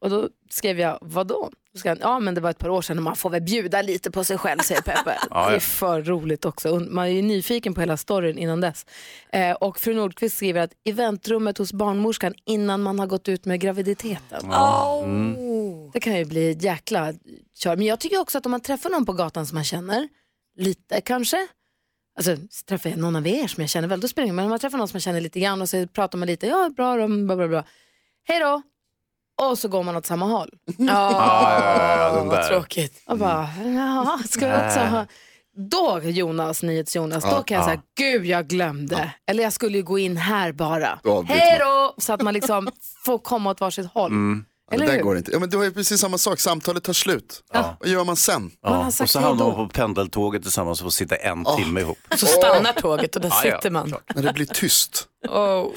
Speaker 1: Och då skrev jag, vadå? Då skrev han, ja men det var ett par år sedan och man får väl bjuda lite på sig själv säger Peppe.
Speaker 4: Ja,
Speaker 1: Det
Speaker 4: ja.
Speaker 1: är för roligt också. Och Man är ju nyfiken på hela storyn innan dess. Eh, och fru Nordqvist skriver att i väntrummet hos barnmorskan innan man har gått ut med graviditeten.
Speaker 4: Ja. Mm.
Speaker 1: Det kan ju bli ett jäkla kör. Men jag tycker också att om man träffar någon på gatan som man känner, lite kanske, alltså träffar jag någon av er som jag känner väl, då spelar det ingen roll. Men om man träffar någon som man känner lite grann och så pratar man lite, ja bra då, bla bla bla. Hej då! och så går man åt samma håll.
Speaker 3: Ah, Ja,
Speaker 1: Ja,
Speaker 3: ja, ja, den där.
Speaker 1: tråkigt. Och bara, ja, ska vi också ha... Då Jonas, NyhetsJonas, då
Speaker 3: Ja,
Speaker 1: kan jag
Speaker 3: ja.
Speaker 1: säga, gud jag glömde. Eller jag skulle ju gå in här bara.
Speaker 10: Ja, det är Mm.
Speaker 1: Hej då! Så att man liksom får komma åt varsitt håll.
Speaker 10: Ja,
Speaker 1: Eller
Speaker 10: det där
Speaker 1: hur?
Speaker 10: går inte. Ja, men det var ju precis samma sak, samtalet tar slut. Vad gör man sen?
Speaker 3: Ja. Och så hamnar man på pendeltåget tillsammans och får sitta en timme ihop.
Speaker 5: Ah. Så stannar tåget och där
Speaker 3: Ja, ja,
Speaker 5: sitter man.
Speaker 10: När det blir tyst.
Speaker 1: Oh.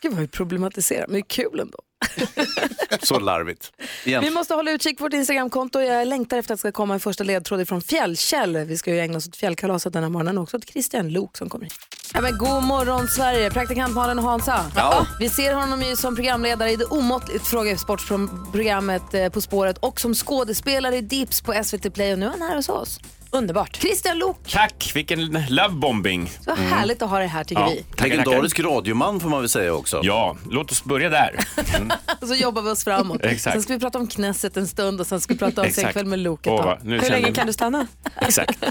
Speaker 1: Gud vad vi problematiserar, men det är kul ändå.
Speaker 3: Så larvigt.
Speaker 1: Vi
Speaker 3: Egentligen.
Speaker 1: måste hålla utkik på vårt Instagramkonto. Jag längtar efter att det ska komma en första ledtråd från Fjällkäll. Vi ska ju ägna oss åt fjällkalaset den här morgonen och också åt Christian Lok som kommer hit. Ja, men god morgon Sverige, praktikant Malin och Hansa.
Speaker 4: Ja.
Speaker 1: Vi ser honom ju som programledare i det omåttligt fråga sportprogrammet eh, På spåret och som skådespelare i Dips på SVT Play och nu är han här hos oss.
Speaker 5: Underbart.
Speaker 1: Christian Lok,
Speaker 12: Tack, vilken Mm. lovebombing.
Speaker 1: vad härligt att ha dig här tycker vi.
Speaker 3: Legendarisk radioman får man väl säga också.
Speaker 12: Ja, låt oss börja där.
Speaker 1: Och så jobbar vi oss framåt.
Speaker 12: Exakt.
Speaker 1: Sen ska vi prata om knässet en stund och sen ska vi prata om
Speaker 12: Exakt.
Speaker 1: sen kväll med Lok ett
Speaker 12: Åh,
Speaker 1: tag.
Speaker 12: vad- nu Hur känner länge jag- kan du
Speaker 5: stanna?
Speaker 12: Exakt.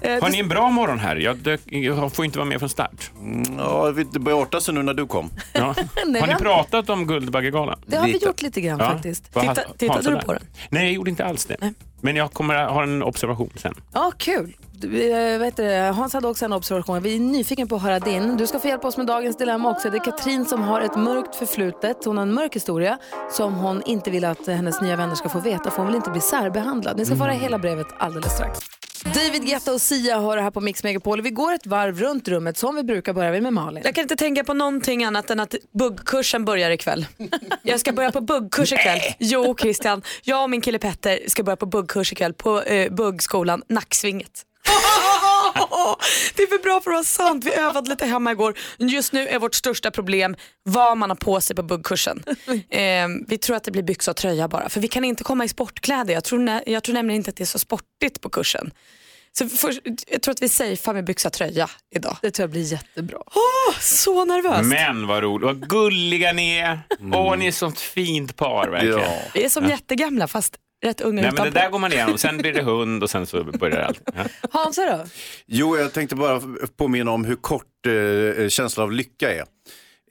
Speaker 1: Eh,
Speaker 12: Har
Speaker 1: du-
Speaker 12: ni en bra morgon här? Jag, dök, jag får inte vara med från start.
Speaker 3: Mm, Ja, det börjar arta sig nu när du kom.
Speaker 1: Nej,
Speaker 12: Har
Speaker 1: vi
Speaker 12: ni
Speaker 1: har-
Speaker 12: pratat om Guldbaggegalan?
Speaker 1: Det har vi Lite. gjort lite grann faktiskt.
Speaker 12: Vad
Speaker 1: Titta-
Speaker 12: ha-
Speaker 1: tittade
Speaker 12: Hansa
Speaker 1: du
Speaker 12: där?
Speaker 1: på den?
Speaker 12: Nej, jag gjorde inte alls det. Men jag kommer att ha en observation sen.
Speaker 1: Ja, kul. Du, eh, vad heter det? Hans hade också en observation. Vi är nyfiken på att höra din. Du ska få hjälpa oss med dagens dilemma också. Det är Katrin som har ett mörkt förflutet. Hon har en mörk historia som hon inte vill att eh, hennes nya vänner ska få veta för hon vill inte bli särbehandlad. Ni ska få höra
Speaker 12: Mm.
Speaker 1: hela brevet alldeles strax. David Guetta och Sia har det här på Mix Megapol. Vi går ett varv runt rummet som vi brukar börja med, med Malin.
Speaker 5: Jag kan inte tänka på någonting annat än att buggkursen börjar ikväll. Jag ska börja på buggkurs ikväll. Jo Christian, jag och min kille Petter ska börja på buggkurs ikväll på eh, buggskolan Nacksvinget. Det är för bra för att vara sant. Vi övade lite hemma igår. Just nu är vårt största problem vad man har på sig på buggkursen. Eh, vi tror att det blir byxa och tröja bara, för vi kan inte komma i sportkläder. Jag tror, nä- jag tror nämligen inte att det är så sportigt på kursen. Så först, jag tror att vi safear med byxa och tröja idag.
Speaker 1: Det tror jag blir jättebra.
Speaker 5: Åh, så nervöst.
Speaker 12: Men vad roligt, vad gulliga ni är.
Speaker 3: Mm.
Speaker 12: Åh, ni är ett sånt fint par verkligen.
Speaker 5: Vi är som
Speaker 12: Ja.
Speaker 5: jättegamla fast rätt unga
Speaker 12: Nej, men det
Speaker 5: utanpå.
Speaker 12: där går man igenom. Sen blir det hund och sen så börjar allt. Ja.
Speaker 1: Hansa då?
Speaker 3: Jo, jag tänkte bara påminna om hur kort eh, känslan av lycka är.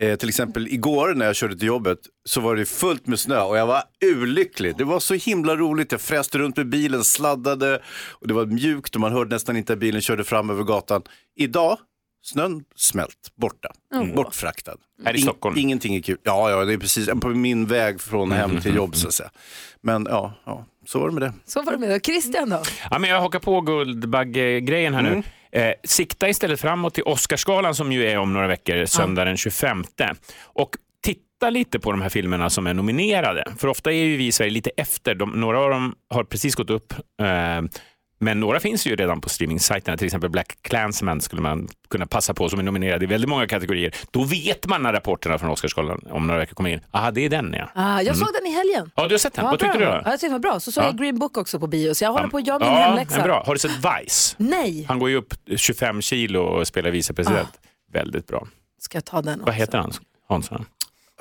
Speaker 3: Eh, till exempel igår när jag körde till jobbet så var det fullt med snö och jag var urlycklig. Det var så himla roligt. Jag fräste runt med bilen, sladdade och det var mjukt och man hörde nästan inte att bilen körde fram över gatan. Idag, snön smält, borta,
Speaker 12: Mm.
Speaker 3: bortfraktad.
Speaker 12: Här i
Speaker 3: In-
Speaker 12: Stockholm?
Speaker 3: Ingenting är kul. Ja, ja, det är precis på min väg från hem
Speaker 12: Mm-hmm.
Speaker 3: till jobb så att säga. Men ja, ja så var det med det.
Speaker 1: Så var det med. Och Christian då?
Speaker 12: Ja, men jag hakar på Guldbagge-grejen här
Speaker 1: Mm.
Speaker 12: nu. Eh, sikta istället framåt till Oscarsgalan som ju är om några veckor, söndag den 25. Och titta lite på de här filmerna som är nominerade. För ofta är ju vi i Sverige lite efter. De, några av dem har precis gått upp. Eh, men några finns ju redan på streamingsajterna, till exempel Black Clansman skulle man kunna passa på som är nominerad i väldigt många kategorier. Då vet man när rapporterna från Oscarsgalan om några veckor kommer in. Aha, det är den ja.
Speaker 1: Ah, jag
Speaker 12: Mm.
Speaker 1: såg den i helgen.
Speaker 12: Ja, du har sett den.
Speaker 1: Ja,
Speaker 12: Vad tyckte
Speaker 1: bra.
Speaker 12: du då?
Speaker 1: Ja, jag tyckte den var bra. Så såg
Speaker 12: Ja.
Speaker 1: jag Green Book också på bio, så jag håller på att göra min
Speaker 12: ja,
Speaker 1: hemläxa.
Speaker 12: men Bra. Har du sett Vice?
Speaker 1: Nej.
Speaker 12: Han går ju upp 25 kilo och spelar vicepresident. Väldigt bra.
Speaker 1: Ska jag ta den
Speaker 12: Vad heter han? Hansson?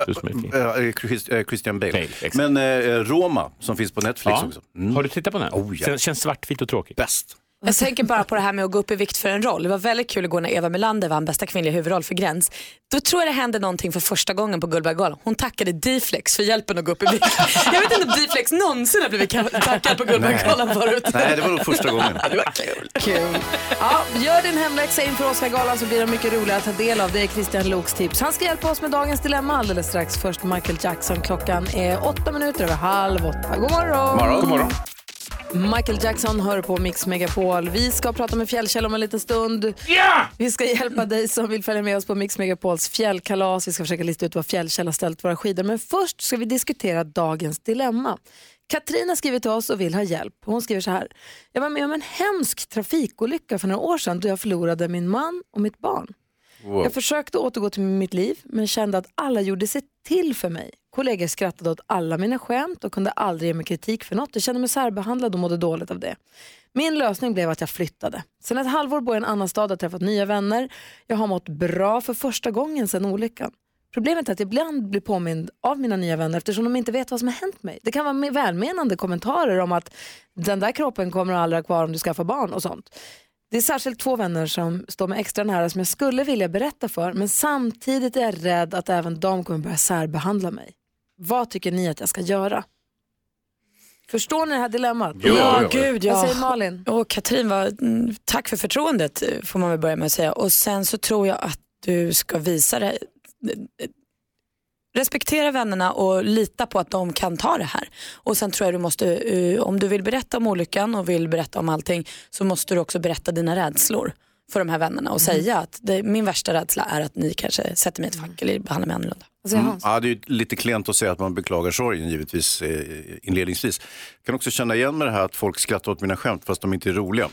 Speaker 12: Du som är fin.
Speaker 3: Eh, Chris- eh, Christian Bale. Men eh, Roma som finns på Netflix
Speaker 12: Ja. Mm.
Speaker 3: också.
Speaker 12: Har du tittat på den?
Speaker 3: Oh, ja.
Speaker 12: Den känns svartvit och tråkig.
Speaker 3: Bäst.
Speaker 5: Jag tänker bara på det här med att gå upp i vikt för en roll. Det var väldigt kul igår när Eva Melander vann bästa kvinnliga huvudroll för Gräns. Då tror jag det hände någonting för första gången på Guldbaggegalan. Hon tackade D-flex för hjälpen att gå upp i vikt. Jag vet inte om D-flex någonsin har blivit tackad på Guldbaggegalan
Speaker 4: Nej.
Speaker 5: förut.
Speaker 4: Nej, det var nog första gången.
Speaker 5: Ja, det var kul.
Speaker 1: Kul. Ja, gör din hemläxa inför Oscargalan så blir det mycket roligare att ta del av. Det är Christian Loks tips. Han ska hjälpa oss med dagens dilemma alldeles strax. Först Michael Jackson. Klockan är åtta minuter över halv åtta. God morgon!
Speaker 12: God morgon.
Speaker 1: Michael Jackson hör på Mix Megapol. Vi ska prata med Fjällkäll om en liten stund. Vi ska hjälpa dig som vill följa med oss på Mix Megapols fjällkalas. Vi ska försöka lista ut var Fjällkäll har ställt våra skidor. Men först ska vi diskutera dagens dilemma. Katrin har skrivit till oss och vill ha hjälp. Hon skriver så här. Jag var med om en hemsk trafikolycka för några år sedan då jag förlorade min man och mitt barn.
Speaker 4: Wow.
Speaker 1: Jag försökte återgå till mitt liv men kände att alla gjorde sig till för mig. Kollegor skrattade åt alla mina skämt och kunde aldrig ge mig kritik för något. Jag kände mig särbehandlad och mådde dåligt av det. Min lösning blev att jag flyttade. Sen ett halvår bor jag i en annan stad och träffat nya vänner. Jag har mått bra för första gången sedan olyckan. Problemet är att jag ibland blir påmind av mina nya vänner eftersom de inte vet vad som har hänt mig. Det kan vara med- välmenande kommentarer om att den där kroppen kommer aldrig ha kvar om du skaffar barn och sånt. Det är särskilt två vänner som står mig extra nära som jag skulle vilja berätta för men samtidigt är jag rädd att även de kommer börja särbehandla mig. Vad tycker ni att jag ska göra? Förstår ni det här dilemmat?
Speaker 5: Ja, ja, gud ja.
Speaker 1: Vad säger Malin?
Speaker 5: Och Katrin, vad, mm, tack för förtroendet eh, får man väl börja med att säga. Och sen så tror jag att du ska visa det. Respektera vännerna och lita på att de kan ta det här. Och sen tror jag du måste, eh, om du vill berätta om olyckan och vill berätta om allting så måste du också berätta dina rädslor för de här vännerna och
Speaker 1: Mm.
Speaker 5: säga att det, min värsta rädsla är att ni kanske sätter mig i ett fack eller behandlar mig annorlunda.
Speaker 3: Ja, det är ju lite klent att säga att man beklagar sorgen givetvis eh, inledningsvis. Jag kan också känna igen med det här att folk skrattar åt mina skämt fast de inte är roliga.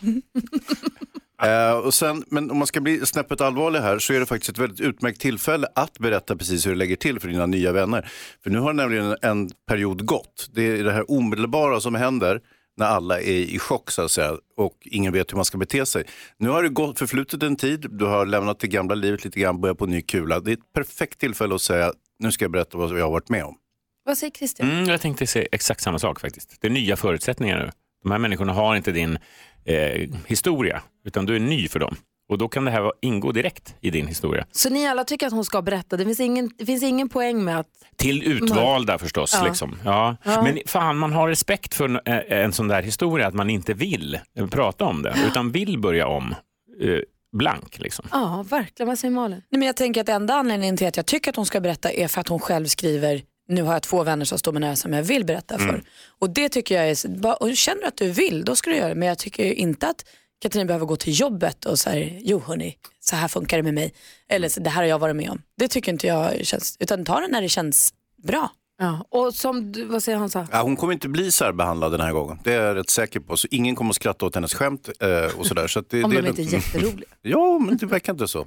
Speaker 3: Eh, och sen, men om man ska bli snäppet allvarlig här så är det faktiskt ett väldigt utmärkt tillfälle att berätta precis hur du lägger till för dina nya vänner. För nu har nämligen en period gått. Det är det här omedelbara som händer när alla är i chock så att säga, och ingen vet hur man ska bete sig. Nu har det gått förflutit en tid, du har lämnat det gamla livet lite grann, börjat på ny kula. Det är ett perfekt tillfälle att säga, nu ska jag berätta vad jag har varit med om.
Speaker 1: Vad säger Christian?
Speaker 12: Mm, jag tänkte säga exakt samma sak faktiskt. Det är nya förutsättningar nu. De här människorna har inte din eh, historia, utan du är ny för dem. Och då kan det här vara- ingå direkt i din historia.
Speaker 1: Så ni alla tycker att hon ska berätta? Det finns ingen, det finns ingen poäng med att...
Speaker 12: Till utvalda förstås.
Speaker 1: Ja.
Speaker 12: Liksom. Ja.
Speaker 1: Ja.
Speaker 12: Men fan, man har respekt för en, eh, en sån där historia, att man inte vill eh, prata om det, utan vill börja om eh, blank. Liksom.
Speaker 1: Ja, verkligen. Vad säger Malin?
Speaker 5: Nej, men jag tänker att enda anledningen till att jag tycker att hon ska berätta är för att hon själv skriver nu har jag två vänner som står mig nära som jag vill berätta för.
Speaker 12: Mm.
Speaker 5: Och det tycker jag är, bara- och känner du att du vill då ska du göra det. Men jag tycker ju inte att Katrin behöver gå till jobbet och säga jo hörni, så här funkar det med mig. Eller så, det här har jag varit med om. Det tycker inte jag känns, utan ta det när det känns bra.
Speaker 1: Ja, och som du, vad säger Hansa?
Speaker 3: Ja, hon kommer inte bli särbehandlad den här gången, det är jag rätt säker på. Så ingen kommer att skratta åt hennes skämt eh, och sådär. Så att det,
Speaker 1: Om
Speaker 3: det
Speaker 1: de
Speaker 3: lugnt.
Speaker 1: inte är jätteroliga.
Speaker 3: ja, men det verkar inte så.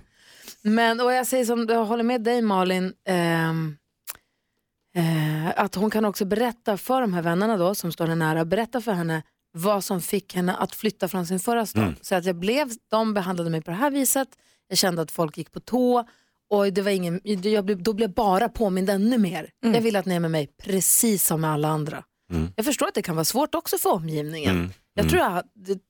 Speaker 1: Men, och jag säger som, jag håller med dig Malin, ehm, eh, att hon kan också berätta för de här vännerna då, som står henne nära, berätta för henne vad som fick henne att flytta från sin förra stad.
Speaker 13: Mm.
Speaker 1: Så att jag blev, de behandlade mig på det här viset, jag kände att folk gick på tå och det var ingen, jag blev, då blev jag bara påmind ännu mer. Jag ville att ni är med mig precis som med alla andra.
Speaker 4: Mm.
Speaker 1: Jag förstår att det kan vara svårt också för omgivningen.
Speaker 4: Mm.
Speaker 1: Jag
Speaker 4: Mm.
Speaker 1: tror jag, det tror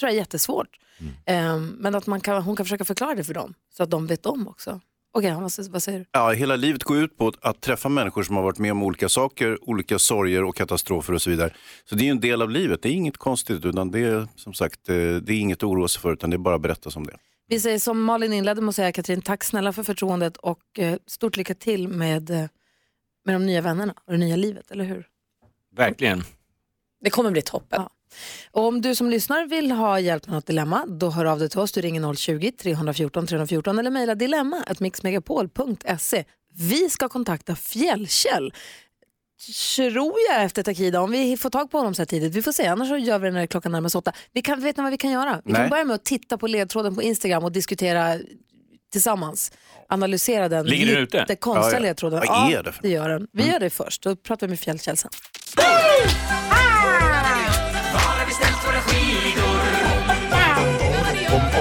Speaker 1: jag är jättesvårt. Ehm, men att man kan, hon kan försöka förklara det för dem, så att de vet om också. Okej, han, vad, vad säger du?
Speaker 3: Ja, hela livet går ut på att träffa människor som har varit med om olika saker, olika sorger och katastrofer och så vidare. Så det är ju en del av livet, det är inget konstigt utan det är som sagt, eh, det är inget att oroa sig för utan det är bara att berätta som det är.
Speaker 1: Vi säger som Malin inledde med att säga, Katrin, tack snälla för förtroendet och eh, stort lycka till med, eh, med de nya vännerna och det nya livet, eller hur?
Speaker 12: Verkligen.
Speaker 5: Det kommer bli toppen.
Speaker 1: Och om du som lyssnar vill ha hjälp med något dilemma, då hör av dig till oss. Du ringer 020-314 314 eller mejla dilemma.mixmegapol.se. Vi ska kontakta Fjällkäll, tror jag, efter Takida. Om vi får tag på honom så här tidigt. Vi får se, annars så gör vi det när klockan närmar sig åtta. Vi kan, vet ni vad vi kan göra? Vi kan
Speaker 4: Nej.
Speaker 1: börja med att titta på ledtråden på Instagram och diskutera tillsammans. Analysera den
Speaker 4: Ligger den
Speaker 1: lite
Speaker 4: ute?
Speaker 1: konstiga
Speaker 4: Ja, ja.
Speaker 1: ledtråden.
Speaker 4: Vad är
Speaker 1: ja,
Speaker 4: det för
Speaker 1: det
Speaker 4: Mm.
Speaker 1: gör den. Vi gör det först, då pratar vi med Fjällkäll sen.
Speaker 4: Var har vi ställt våra skidor?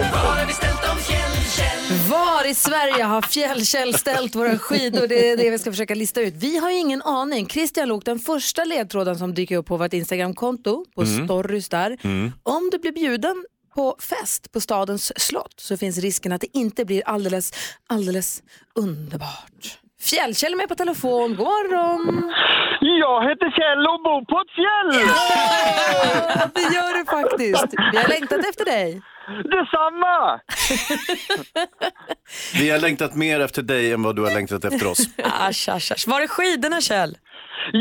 Speaker 4: Var har vi ställt dem fjällkäll?
Speaker 1: Var i Sverige har Fjällkäll ställt våra skidor? Det är det vi ska försöka lista ut. Vi har ju ingen aning. Christian log den första ledtråden som dyker upp på vårt Instagramkonto, på
Speaker 4: Mm.
Speaker 1: stories där.
Speaker 4: Mm.
Speaker 1: Om du blir bjuden på fest på stadens slott så finns risken att det inte blir alldeles, alldeles underbart. Fjällkäll är med på telefon. God morgon!
Speaker 14: Jag heter Kjell och bor på ett fjäll!
Speaker 1: Ja, det gör du faktiskt. Vi har längtat efter dig.
Speaker 14: Detsamma!
Speaker 3: Vi har längtat mer efter dig än vad du har längtat efter oss.
Speaker 5: Asch, asch, asch. Var är skidorna Kjell?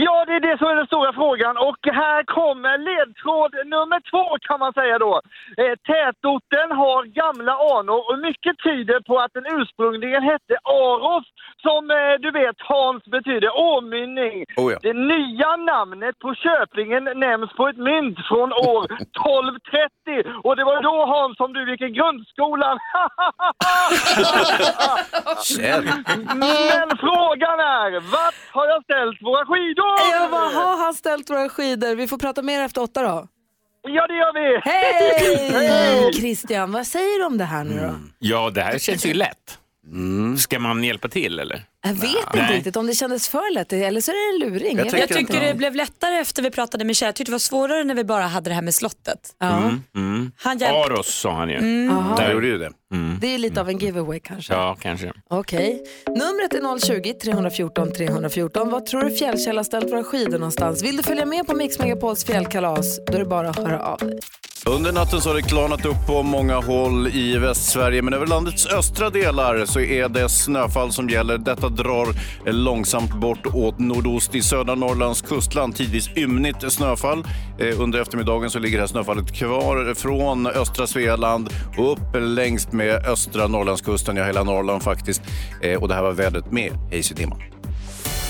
Speaker 14: Ja, det är det som är den stora frågan och här kommer ledtråd nummer två kan man säga då. Eh, tätorten har gamla anor och mycket tyder på att den ursprungligen hette Aros som eh, du vet Hans betyder åmynning.
Speaker 4: Oh ja.
Speaker 14: Det nya namnet på köplingen nämns på ett mynt från år 1230 och det var då Hans som du gick i grundskolan. Men frågan är, vart har jag ställt våra skidor?
Speaker 1: Ja, vad har han ställt våra skidor? Vi får prata mer efter åtta då.
Speaker 14: Ja, det gör vi.
Speaker 1: Hej! Christian, vad säger du om det här nu då?
Speaker 12: Mm. Ja, det här känns ju lätt. Ska man hjälpa till eller?
Speaker 1: Jag vet inte
Speaker 12: Nej.
Speaker 1: riktigt om det kändes för lätt eller så är det en luring.
Speaker 12: Jag
Speaker 1: vet
Speaker 5: Jag
Speaker 1: inte.
Speaker 5: tycker det blev lättare efter vi pratade med Kjell. Jag tyckte det var svårare när vi bara hade det här med slottet.
Speaker 12: Mm, mm.
Speaker 5: Han hjälpte.
Speaker 12: Aros sa han ju.
Speaker 1: Mm. Aha.
Speaker 12: Där
Speaker 1: Han
Speaker 12: gjorde ju det.
Speaker 1: Det är lite av en giveaway kanske.
Speaker 12: Ja, kanske.
Speaker 1: Okej. Numret är 020-314 314. Vad tror du Fjällkäll har ställt våra skidor någonstans? Vill du följa med på Mix Megapols fjällkalas? Då är det bara att höra av dig.
Speaker 3: Under natten så har det klarnat upp på många håll i Västsverige men över landets östra delar så är det snöfall som gäller. Detta drar eh, långsamt bort åt nordost i södra Norrlands kustland. Tidvis ymnigt snöfall. Eh, Under eftermiddagen så ligger det här snöfallet kvar från östra Svealand och upp längst med östra Norrlandskusten, ja hela Norrland faktiskt. Eh, Och det här var vädret med Hayes i dimman.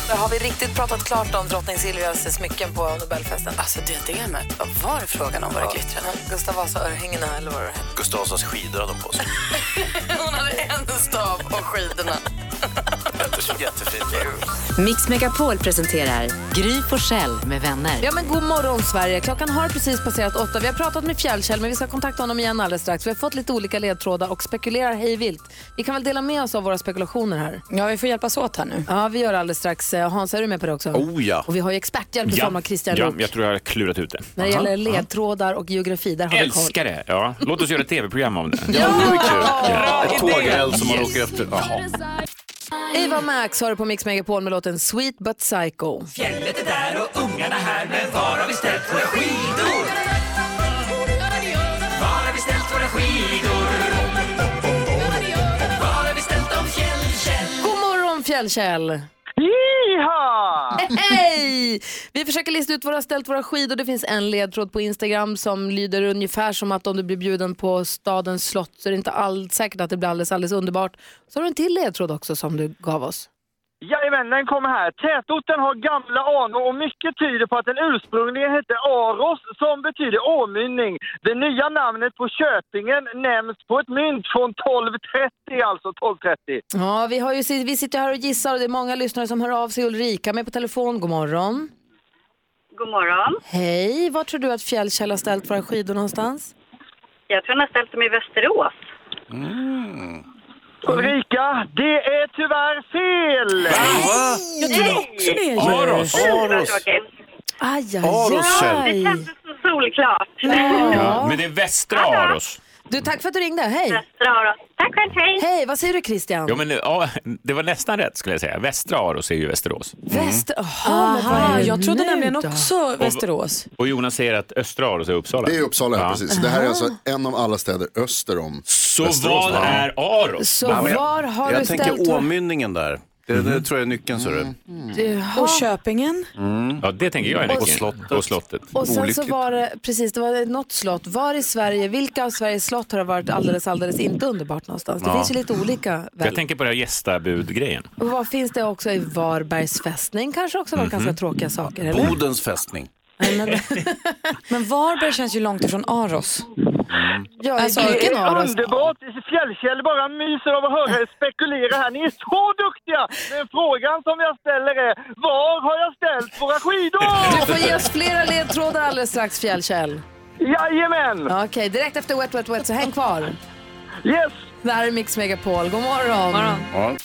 Speaker 1: Där har vi riktigt pratat klart om drottning Silvias smycken på Nobelfesten. Alltså det diamet, vad var det frågan om? Var det glittrade? Gustav Vasa-örhängena eller vad det hette?
Speaker 3: Gustav Vasas skidor hade de på sig.
Speaker 1: Hon hade en stav och skidorna.
Speaker 3: Jättefint.
Speaker 7: Mix Megapol presenterar Gry på Själl med vänner.
Speaker 1: Ja men god morgon Sverige. Klockan har precis passerat åtta. Vi har pratat med Fjällkäll men vi ska kontakta honom igen alldeles strax. Vi har fått lite olika ledtrådar och spekulerar hej vilt. Vi kan väl dela med oss av våra spekulationer här.
Speaker 5: Ja, vi får hjälpas åt här nu.
Speaker 1: Ja, vi gör alldeles strax. Eh, Hans, är du med på det också?
Speaker 12: Oh, ja.
Speaker 1: Och vi har ju experthjälp i form av Christian
Speaker 12: ja,
Speaker 1: Luuk.
Speaker 12: jag tror jag har klurat ut det.
Speaker 1: När det gäller ledtrådar och geografi, där har vi koll.
Speaker 12: Älskar det! Ja. Låt oss göra ett tv-program om det.
Speaker 1: Ja, det blir kul.
Speaker 12: Ja.
Speaker 3: Ett tågräls som man
Speaker 12: Yes.
Speaker 3: åker efter. Jaha.
Speaker 1: Eva Max har du på Mix Megapol med låten Sweet But Psycho.
Speaker 4: Fjället är där och ungarna här, men var har vi ställt våra skidor? Var har vi ställt våra skidor? Var har vi ställt dem, fjäll, fjäll?
Speaker 1: God morgon Fjällkäll!
Speaker 14: Jiha!
Speaker 1: Hej! Vi försöker lista ut var du har ställt våra skidor. Det finns en ledtråd på Instagram som lyder ungefär som att om du blir bjuden på stadens slott så är det inte all, säkert att det blir alldeles, alldeles underbart. Så har du en till ledtråd också som du gav oss.
Speaker 14: Jajamän, den kommer här. Tätorten har gamla anor och mycket tyder på att den ursprungligen hette Aros som betyder åmynning. Det nya namnet på köpingen nämns på ett mynt från 1230, alltså 1230.
Speaker 1: Ja, vi, har ju, sitt- vi sitter här och gissar och det är många lyssnare som hör av sig. Ulrika är med på telefon. God morgon.
Speaker 13: God morgon.
Speaker 1: Hej, var tror du att Fjällkäll har ställt våra skidor någonstans?
Speaker 13: Jag tror ni har ställt dem i Västerås.
Speaker 14: Mm. Ulrika, det är tyvärr fel!
Speaker 4: Jag trodde också det, ju. Aros.
Speaker 14: Aros.
Speaker 1: Aj, aj,
Speaker 12: Aros,
Speaker 1: aj.
Speaker 12: Kjell.
Speaker 13: Det kändes så solklart.
Speaker 12: Ja. Men det är västra Aros.
Speaker 1: Du, tack för att du ringde. Hej! Tack själv, hej! Hej, vad säger du Christian?
Speaker 12: Ja, men, nu- ja, det var nästan rätt skulle jag säga. Västra Aros är ju Västerås.
Speaker 1: Väster...
Speaker 12: Mm.
Speaker 5: Aha, jag trodde nämligen
Speaker 1: också
Speaker 5: Västerås.
Speaker 12: Och Jonas säger att östra Aros är Uppsala.
Speaker 10: Det är Uppsala, ja. precis. Det här är alltså en av alla städer öster om Så
Speaker 12: vad är Aros?
Speaker 1: Så var har
Speaker 3: jag
Speaker 1: du
Speaker 3: tänker
Speaker 1: ställt-
Speaker 3: åmynningen där. Det, det tror jag är nyckeln, ser du.
Speaker 1: Jaha.
Speaker 5: Och Köpingen.
Speaker 12: Ja, det tänker jag är
Speaker 1: Och
Speaker 12: nyckeln.
Speaker 3: slottet.
Speaker 12: Och slottet.
Speaker 1: Och sen så var det, precis, det var något slott. Var i Sverige, vilka av Sveriges slott har det varit alldeles, alldeles inte underbart någonstans? Det
Speaker 12: Ja.
Speaker 1: finns ju lite olika
Speaker 12: Jag
Speaker 1: väl.
Speaker 12: tänker på den här gästabud-grejen.
Speaker 1: Och vad finns det också i Varbergs fästning? Kanske också var
Speaker 12: Mhm.
Speaker 1: ganska tråkiga saker, eller?
Speaker 3: Bodens fästning.
Speaker 5: Men Varberg känns ju långt ifrån Aros.
Speaker 1: Ja,
Speaker 5: alltså,
Speaker 14: det
Speaker 5: vilken
Speaker 14: är
Speaker 5: Aros?
Speaker 14: underbart! Fjällkäll bara myser av att höra er spekulera här. Ni är så duktiga! Men frågan som jag ställer är, var har jag ställt våra skidor?
Speaker 1: Du får ge oss flera ledtrådar alldeles strax, Fjällkäll.
Speaker 14: Jajamän!
Speaker 1: Okej, direkt efter Wet Wet Wet, så häng kvar.
Speaker 14: Yes!
Speaker 1: Det här är Mix Megapol. God morgon.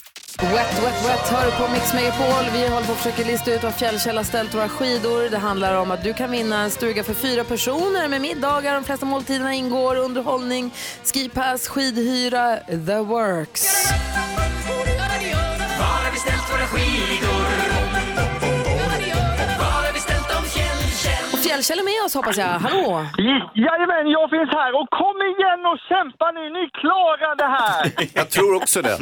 Speaker 1: Wet, wet, wet hör du på Mix Megapol. Vi håller på att försöka lista ut var Fjällkäll har ställt våra skidor. Det handlar om att du kan vinna en stuga för fyra personer med middagar. De flesta måltiderna ingår. Underhållning, skipass, skidhyra, the works.
Speaker 4: Var har vi ställt våra skidor? Var har vi ställt dem, fjäll, fjäll?
Speaker 1: Och Fjällkäll är med oss hoppas jag. Hallå!
Speaker 14: J- Jajamän, jag finns här och kom igen och kämpa nu, ni klarar det här!
Speaker 3: Jag tror också det.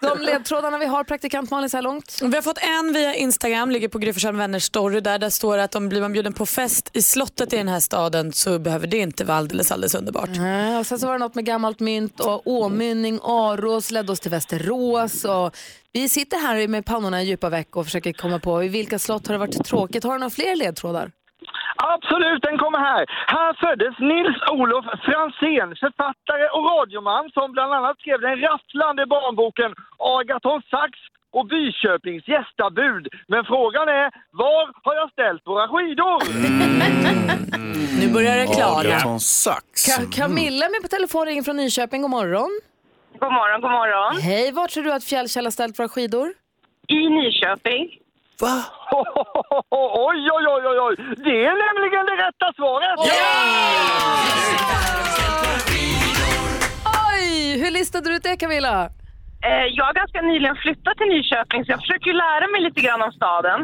Speaker 1: De ledtrådarna vi har, praktikant Malin, så här långt.
Speaker 5: Vi har fått en via Instagram, ligger på Gry Forssell med vänners story där. Där står det att om blir man bjuden på fest i slottet i den här staden så behöver det inte vara alldeles, alldeles underbart.
Speaker 1: Nej, Eh, Och sen så var det något med gammalt mynt och åmynning, Aros ledde oss till Västerås. Och vi sitter här med pannorna i djupa veck och försöker komma på i vilka slott har det varit tråkigt. Har du några fler ledtrådar?
Speaker 14: Absolut, den kommer här. Här föddes Nils Olof Franzén, författare och radioman som bland annat skrev den rafflande barnboken Agaton Sax och Byköpings gästabud. Men frågan är, var har jag ställt våra skidor?
Speaker 5: Nu börjar det klara.
Speaker 3: Sax.
Speaker 1: Ka- Camilla är med på telefon, ringer från Nyköping. God morgon.
Speaker 13: God morgon, god morgon.
Speaker 1: Hej, vart tror du att Fjällkäll har ställt våra skidor?
Speaker 13: I Nyköping.
Speaker 1: Va?
Speaker 14: Oj, oj, oj, oj, oj! Det är nämligen det rätta svaret!
Speaker 1: Oj, hur listade du ut det Camilla?
Speaker 13: Eh, jag har ganska nyligen flyttat till Nyköping så jag försöker ju lära mig lite grann om staden.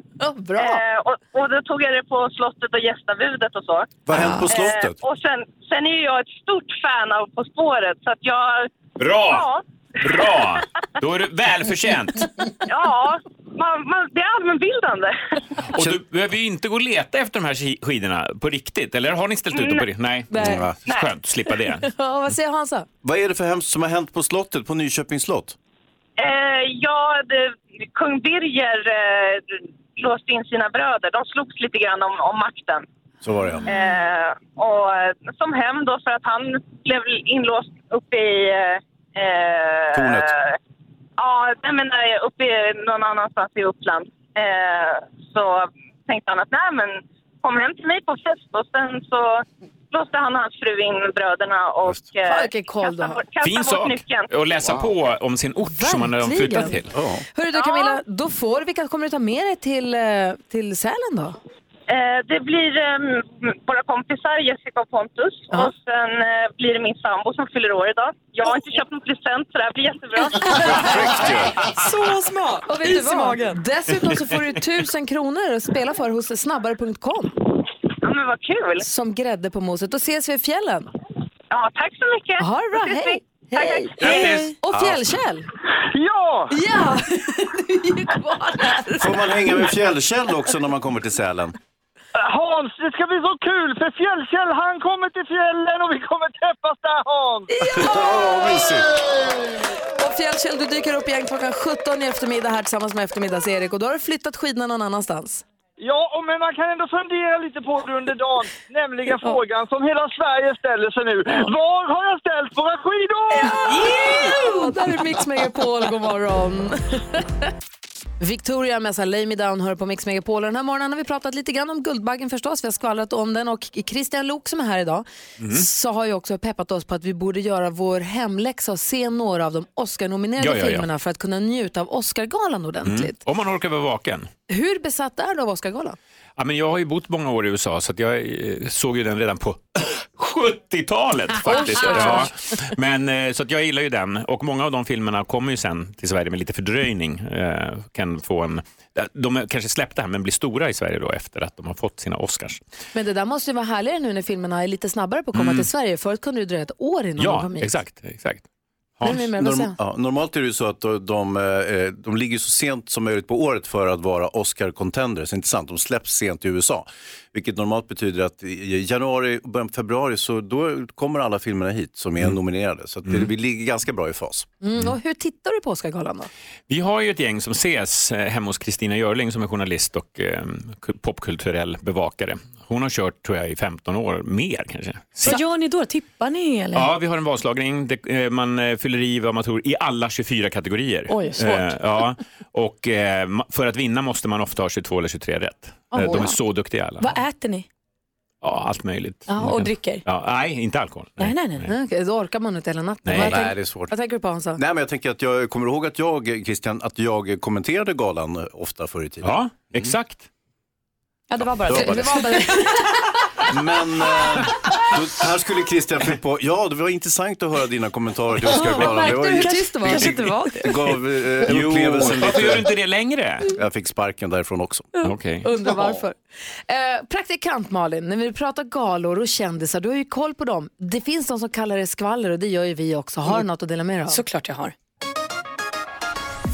Speaker 1: bra.
Speaker 13: Eh, och, och då tog jag det på slottet och gästabudet och så.
Speaker 3: Vad hände på slottet?
Speaker 13: Eh, och sen, sen är ju jag ett stort fan av På spåret så att jag...
Speaker 12: Bra!
Speaker 13: Ja,
Speaker 12: Bra! Då är det välförtjänt.
Speaker 13: ja man, man, det är allmänbildande.
Speaker 12: Och du behöver ju inte gå och leta efter de här ski- skidorna på riktigt, eller har ni ställt ut dem på riktigt? Nej.
Speaker 1: Nej.
Speaker 12: Mm, va? Skönt, slippa det.
Speaker 1: Ja, vad säger Hansa?
Speaker 3: Vad är det för hemskt som har hänt på slottet, på Nyköpings slott?
Speaker 13: Eh, ja, det, kung Birger eh, låste in sina bröder. De slogs lite grann om, om makten.
Speaker 3: Så var det
Speaker 12: Mm.
Speaker 3: ja.
Speaker 13: Eh, och eh, som hem då för att han blev inlåst uppe i... eh, Eh,
Speaker 3: Tornet.
Speaker 13: Ja, nej men eh, uppe i, någon annanstans i Uppland. Eh, så tänkte han att nej men kom hem till mig på fest och sen så låste han och hans fru in bröderna och eh,
Speaker 1: Fan, vilken koll du
Speaker 13: kastade
Speaker 1: har.
Speaker 13: bort, kastade
Speaker 12: Fin
Speaker 13: bort
Speaker 12: sak
Speaker 13: nyckeln.
Speaker 12: att läsa på om sin ort som man har
Speaker 1: Verkligen.
Speaker 12: flyttat till.
Speaker 1: Hörru du Camilla, då får du- vilka kommer du ta med dig till, eh, till Sälen då?
Speaker 13: Eh, det blir eh, våra kompisar Jessica och Pontus
Speaker 1: Ja.
Speaker 13: och sen eh, blir det min sambo som fyller år idag. Jag har inte köpt någon present så det här blir jättebra.
Speaker 1: Så smart! Och vet du
Speaker 13: Is i
Speaker 1: vad?
Speaker 13: magen.
Speaker 1: Dessutom så får du tusen kronor att spela för hos snabbare.com.
Speaker 13: Ja, men vad kul!
Speaker 1: Som grädde på moset. Då ses vi i fjällen.
Speaker 13: Ja, tack så mycket!
Speaker 1: Ha det bra,
Speaker 13: Då ses
Speaker 1: hej!
Speaker 13: vi. Tack,
Speaker 1: Hej!
Speaker 13: tack.
Speaker 1: Hej. Och
Speaker 3: Ja.
Speaker 1: Fjällkäll!
Speaker 14: Ja!
Speaker 1: Ja!
Speaker 3: Får man hänga med Fjällkäll också när man kommer till Sälen?
Speaker 14: Hans, det ska bli så kul för Fjällkäll han kommer till fjällen och vi kommer träffas där Hans!
Speaker 1: Och Fjällkäll, du dyker upp igen klockan 17 i eftermiddag här tillsammans med eftermiddags-Erik och då har du flyttat skidorna någon annanstans.
Speaker 14: Ja, och men man kan ändå fundera lite på det under dagen, nämligen frågan som hela Sverige ställer sig nu. Var har jag ställt våra skidor?
Speaker 1: Oh, där är Mix Megapol, god morgon. Victoria med Lay Me Down hör på Mix Megapol och den här morgonen har vi pratat lite grann om Guldbaggen förstås, vi har skvallrat om den och Christian Lok som är här idag
Speaker 4: Mm.
Speaker 1: så har ju också peppat oss på att vi borde göra vår hemläxa och se några av de Oscar-nominerade
Speaker 12: Ja, ja, ja.
Speaker 1: filmerna för att kunna njuta av Oscargalan ordentligt.
Speaker 12: Mm. Om man orkar vara vaken.
Speaker 1: Hur besatt är du av Oscargalan?
Speaker 12: Ja, men jag har ju bott många år i USA så att jag eh, såg ju den redan på 70-talet faktiskt.
Speaker 4: Ah, oj, oj.
Speaker 12: Ja. Men, eh, så att jag gillar ju den och många av de filmerna kommer ju sen till Sverige med lite fördröjning. Eh, Kan få en, de är kanske släppta här men blir stora i Sverige då efter att de har fått sina Oscars.
Speaker 1: Men det där måste ju vara härligare nu när filmerna är lite snabbare på att komma
Speaker 12: Mm.
Speaker 1: till Sverige. Förut kunde det dröja ett år innan de
Speaker 12: Ja,
Speaker 1: kom hit.
Speaker 12: exakt. exakt.
Speaker 1: Hans. Nej, men vad säger han?
Speaker 3: ja, normalt är det ju så att de, de, eh, de ligger så sent som möjligt på året för att vara Oscar-contenders, inte sant? De släpps sent i USA, vilket normalt betyder att i januari och början på februari så då kommer alla filmerna hit som är nominerade. Så att det, vi ligger ganska bra i fas.
Speaker 1: Mm, och hur tittar du på Oscargalan då?
Speaker 12: Vi har ju ett gäng som ses eh, hemma hos Kristina Jörling som är journalist och eh, ku- popkulturell bevakare. Hon har kört tror jag i 15 år, mer kanske.
Speaker 15: Vad gör ni då? Tippar ni eller?
Speaker 12: Ja, vi har en vaslagning. Det, eh, man eh, fyller i vad man tror i alla 24 kategorier.
Speaker 15: Oj, svårt.
Speaker 12: Eh, ja, och eh, ma- för att vinna måste man ofta ha 22 eller 23 rätt.
Speaker 15: Oj,
Speaker 12: eh, de
Speaker 15: ja.
Speaker 12: är så duktiga alla.
Speaker 15: Vad äter ni?
Speaker 12: Ja, allt möjligt.
Speaker 15: Ja, och dricker?
Speaker 12: Ja, nej, inte alkohol.
Speaker 1: Nej, nej, nej. Okej, då orkar man inte hela natten.
Speaker 3: Nej,
Speaker 1: Vad tänk-
Speaker 3: nej, det är svårt.
Speaker 1: Vad tänker du på Hansa?
Speaker 3: Nej, men jag tänker att jag kommer ihåg att jag, Christian, att jag kommenterade galan eh, ofta förr i tiden.
Speaker 12: Ja, exakt.
Speaker 1: Ja, det var bara
Speaker 3: det var
Speaker 1: det.
Speaker 3: bara
Speaker 1: det, var bara det.
Speaker 3: Men eh, då, här skulle Christian fylla på. Ja, det var intressant att höra dina kommentarer till Oscarsgalan.
Speaker 12: Märkte
Speaker 3: var
Speaker 12: du hur
Speaker 3: ju-
Speaker 12: tyst det var? Kanske inte var det.
Speaker 3: det. gav eh,
Speaker 12: Jo,
Speaker 3: upplevelsen
Speaker 12: varför gör du
Speaker 3: lite...
Speaker 12: inte det längre?
Speaker 3: Jag fick sparken därifrån också.
Speaker 12: Okej.
Speaker 1: Undrar varför. Eh, praktikant Malin, när vi pratar galor och kändisar, du har ju koll på dem. Det finns de som kallar det skvaller och det gör ju vi också. Har du något att dela med dig av?
Speaker 5: Mm. Såklart jag har.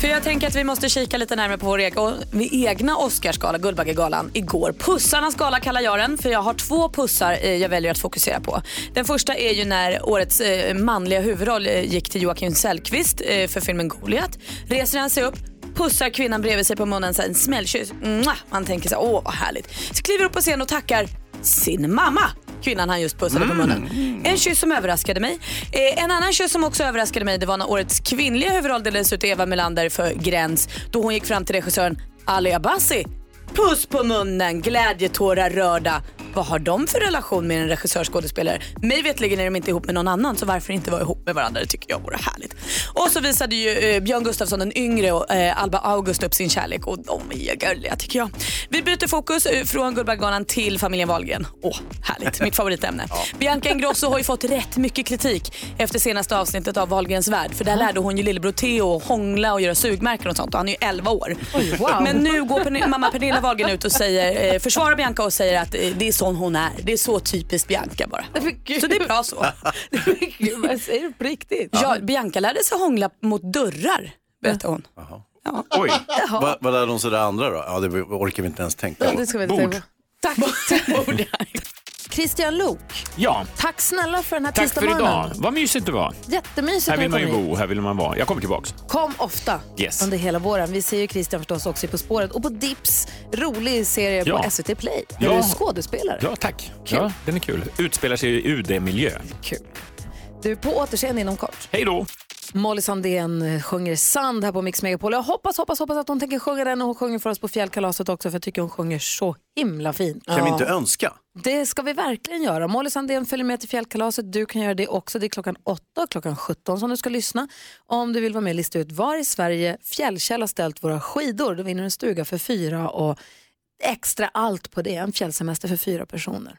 Speaker 5: För jag tänker att vi måste kika lite närmare på vår egen, vår egna Oscarsgala, Guldbaggegalan, igår. Pussarnas gala kallar jag den, för jag har två pussar eh, jag väljer att fokusera på. Den första är ju när årets eh, manliga huvudroll eh, gick till Joakim Sellqvist eh, för filmen Goliat. Reser han sig upp, pussar kvinnan bredvid sig på munnen, så här, en smällkyss. Mwah! Man tänker så här, åh vad härligt. Så kliver upp på scen och tackar sin mamma, kvinnan han just pussade på munnen. En kyss som överraskade mig. Eh, en annan kyss som också överraskade mig det var när årets kvinnliga huvudroll delades ut till Eva Melander för Gräns då hon gick fram till regissören Ali Abassi. Puss på munnen, glädjetårar rörda. Vad har de för relation med en regissörsskådespelare? Mig vetligen är de inte ihop med någon annan så varför inte vara ihop med varandra? Det tycker jag vore härligt. Och så visade ju eh, Björn Gustafsson den yngre och eh, Alba August upp sin kärlek och de är gulliga tycker jag. Vi byter fokus eh, från Guldbaggegalan till familjen Wahlgren. Åh, härligt. Mitt favoritämne. Bianca Ingrosso har ju fått rätt mycket kritik efter senaste avsnittet av Wahlgrens värld. För där lärde hon ju lillebror Theo att hångla och göra sugmärken och sånt och han är ju 11 år.
Speaker 1: Oj, wow.
Speaker 5: Men nu går Pern- mamma Pernilla Wahlgren ut och säger, eh, försvarar Bianca och säger att eh, det är sån hon är. Det är så typiskt Bianca bara. Så det är bra så.
Speaker 1: Gud, vad säger du på riktigt?
Speaker 5: Ja, Bianca lärde sig hångla mot dörrar, berättar hon.
Speaker 3: Oj,
Speaker 5: Jaha.
Speaker 3: vad, vad lärde de sig det andra då? Ja, det orkar vi inte ens tänka
Speaker 1: Ja,
Speaker 3: på.
Speaker 1: det ska vi inte
Speaker 3: Bord.
Speaker 1: tänka på. Tack. Christian Lok,
Speaker 12: Ja,
Speaker 1: tack snälla för den här
Speaker 12: tack för idag.
Speaker 1: tisdagsmorgonen.
Speaker 12: Vad mysigt det var.
Speaker 1: Jättemysigt
Speaker 12: Här
Speaker 1: att
Speaker 12: vill
Speaker 1: du
Speaker 12: man
Speaker 1: kom
Speaker 12: ju
Speaker 1: hit.
Speaker 12: bo, här vill man vara. Jag kommer tillbaks.
Speaker 1: Kom ofta
Speaker 12: Yes.
Speaker 1: under hela våren. Vi ser ju Christian förstås också i På spåret och på Dips, rolig serie
Speaker 12: Ja.
Speaker 1: på SVT Play. Där
Speaker 12: Ja.
Speaker 1: du är skådespelare.
Speaker 12: Ja, tack. Ja, den är kul. Utspelar sig i UD-miljö.
Speaker 1: Kul. Du, på återseende inom kort.
Speaker 12: Hej då!
Speaker 1: Molly Sandén eh, sjunger Sand här på Mix Megapol. Jag hoppas, hoppas, hoppas att hon tänker sjunga den och hon sjunger för oss på Fjällkalaset också för jag tycker hon sjunger så himla fint.
Speaker 3: Kan vi inte önska?
Speaker 1: Det ska vi verkligen göra. Molly Sandén följer med till Fjällkalaset. Du kan göra det också. Det är klockan 8 och klockan 17 som du ska lyssna. Om du vill vara med och lista ut var i Sverige Fjällkäll har ställt våra skidor, då vinner du en stuga för fyra och extra allt på det. En fjällsemester för fyra personer.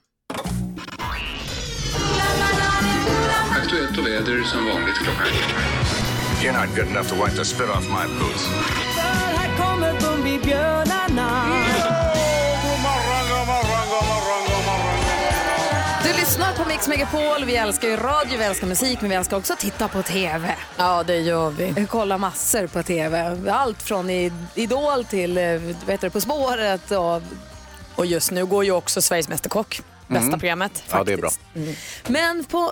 Speaker 16: Aktuellt och väder som vanligt klockan You're not good enough to wipe the spit off my boots.
Speaker 4: Här kommer Bumbibjörnarna.
Speaker 1: Du lyssnar på Mix Megapol. Vi älskar ju radio, vi älskar musik, men vi älskar också att titta på TV.
Speaker 5: Ja, det gör vi.
Speaker 1: Vi kollar massor på TV. Allt från i- Idol till eh, vad heter det, På spåret. Och...
Speaker 5: Och just nu går ju också Sveriges Mästerkock, bästa
Speaker 1: Mm.
Speaker 5: programmet. Faktiskt.
Speaker 3: Ja, det är bra.
Speaker 1: Men på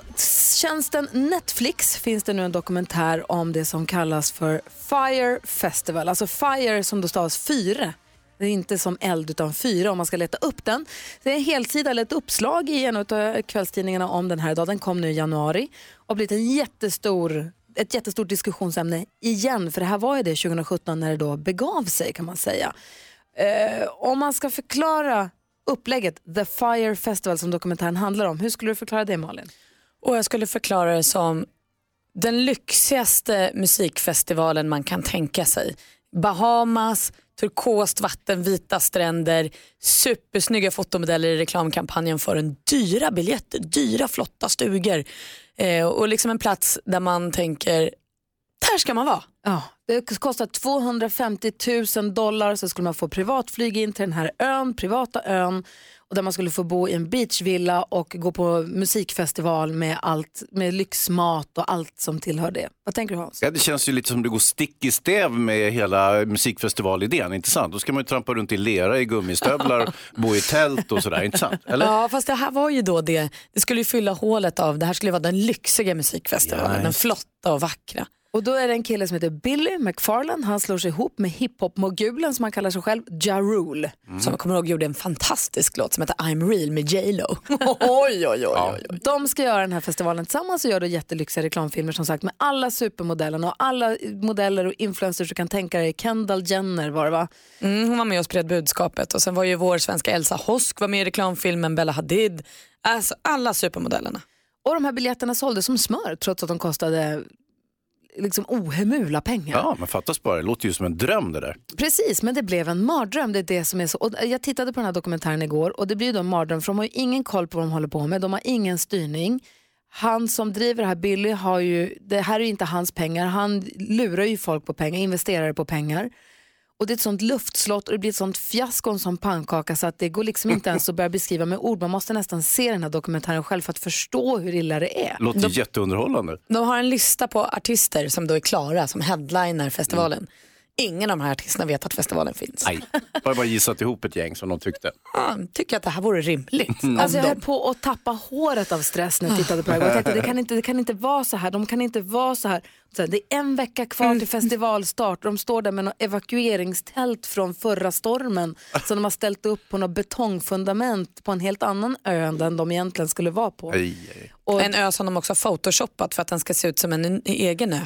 Speaker 1: tjänsten Netflix finns det nu en dokumentär om det som kallas för Fire Festival. Alltså Fire som då stavas fyre. Det är inte som eld utan fyra om man ska leta upp den. Det är en helsida eller ett uppslag i en av kvällstidningarna om den här idag. Den kom nu i januari och har blivit en jättestor ett jättestort diskussionsämne igen, för det här var ju det 2017 när det då begav sig kan man säga. Eh, om man ska förklara upplägget, The Fire Festival som dokumentären handlar om, hur skulle du förklara det Malin?
Speaker 5: Och jag skulle förklara det som den lyxigaste musikfestivalen man kan tänka sig. Bahamas, turkost vatten, vita stränder, supersnygga fotomodeller i reklamkampanjen för en dyra biljetter, dyra flotta stugor eh, och liksom en plats där man tänker, där ska man vara.
Speaker 1: Ja, det kostar 250 000 dollar så skulle man få privatflyg in till den här ön, privata ön och där man skulle få bo i en beachvilla och gå på musikfestival med allt, med lyxmat och allt som tillhör det. Vad tänker du Hans?
Speaker 3: Ja, det känns ju lite som det går stick i stäv med hela musikfestivalidén, inte sant? Då ska man ju trampa runt i lera i gummistövlar, bo i tält och sådär, inte sant? Eller?
Speaker 5: Ja, fast det här var ju då det, det skulle ju fylla hålet av, det här skulle vara den lyxiga musikfestivalen,
Speaker 1: Ja,
Speaker 5: den
Speaker 1: just.
Speaker 5: flotta och vackra.
Speaker 1: Och då är det en kille som heter Billy McFarland. Han slår sig ihop med hiphop-mogulen som han kallar sig själv, Ja Rule.
Speaker 5: Som jag kommer ihåg gjorde en fantastisk låt som heter I'm real med J Lo. oj, oj, oj, oj.
Speaker 1: De ska göra den här festivalen tillsammans och gör då jättelyxiga reklamfilmer som sagt med alla supermodellerna och alla modeller och influencers du kan tänka dig. Kendall Jenner var det va?
Speaker 5: Mm, hon var med och spred budskapet och sen var ju vår svenska Elsa Hosk var med i reklamfilmen Bella Hadid. Alltså alla supermodellerna.
Speaker 1: Och de här biljetterna såldes som smör trots att de kostade liksom ohemula pengar.
Speaker 3: Ja, men fattas bara, det låter ju som en dröm det där.
Speaker 1: Precis, men det blev en mardröm. Det är det som är så. Och jag tittade på den här dokumentären igår och det blir ju då en mardröm för de har ju ingen koll på vad de håller på med. De har ingen styrning. Han som driver det här, Billy, har ju, det här är ju inte hans pengar. Han lurar ju folk på pengar, investerare på pengar. Och det är ett sånt luftslott och det blir ett sånt fiasko, en sån pannkaka så att det går liksom inte ens att börja beskriva med ord. Man måste nästan se den här dokumentären själv för att förstå hur illa det är.
Speaker 3: Låter jätteunderhållande.
Speaker 5: De har en lista på artister som då är klara som headliner festivalen.
Speaker 1: Mm.
Speaker 5: Ingen av de här artisterna vet att festivalen finns.
Speaker 3: Nej, jag har bara gissat ihop ett gäng som de tyckte.
Speaker 5: Ja, tycker att det här vore rimligt. av
Speaker 1: Alltså jag
Speaker 5: dem.
Speaker 1: höll på att tappa håret av stress när jag tittade på det här. Jag tänkte det kan inte, det kan inte vara så här, de kan inte vara så här. Så här det är en vecka kvar till
Speaker 5: Mm.
Speaker 1: festivalstart och de står där med något evakueringstält från förra stormen som de har ställt upp på något betongfundament på en helt annan ö än den de egentligen skulle vara på.
Speaker 5: en ö som de också har photoshopat för att den ska se ut som en, en egen ö.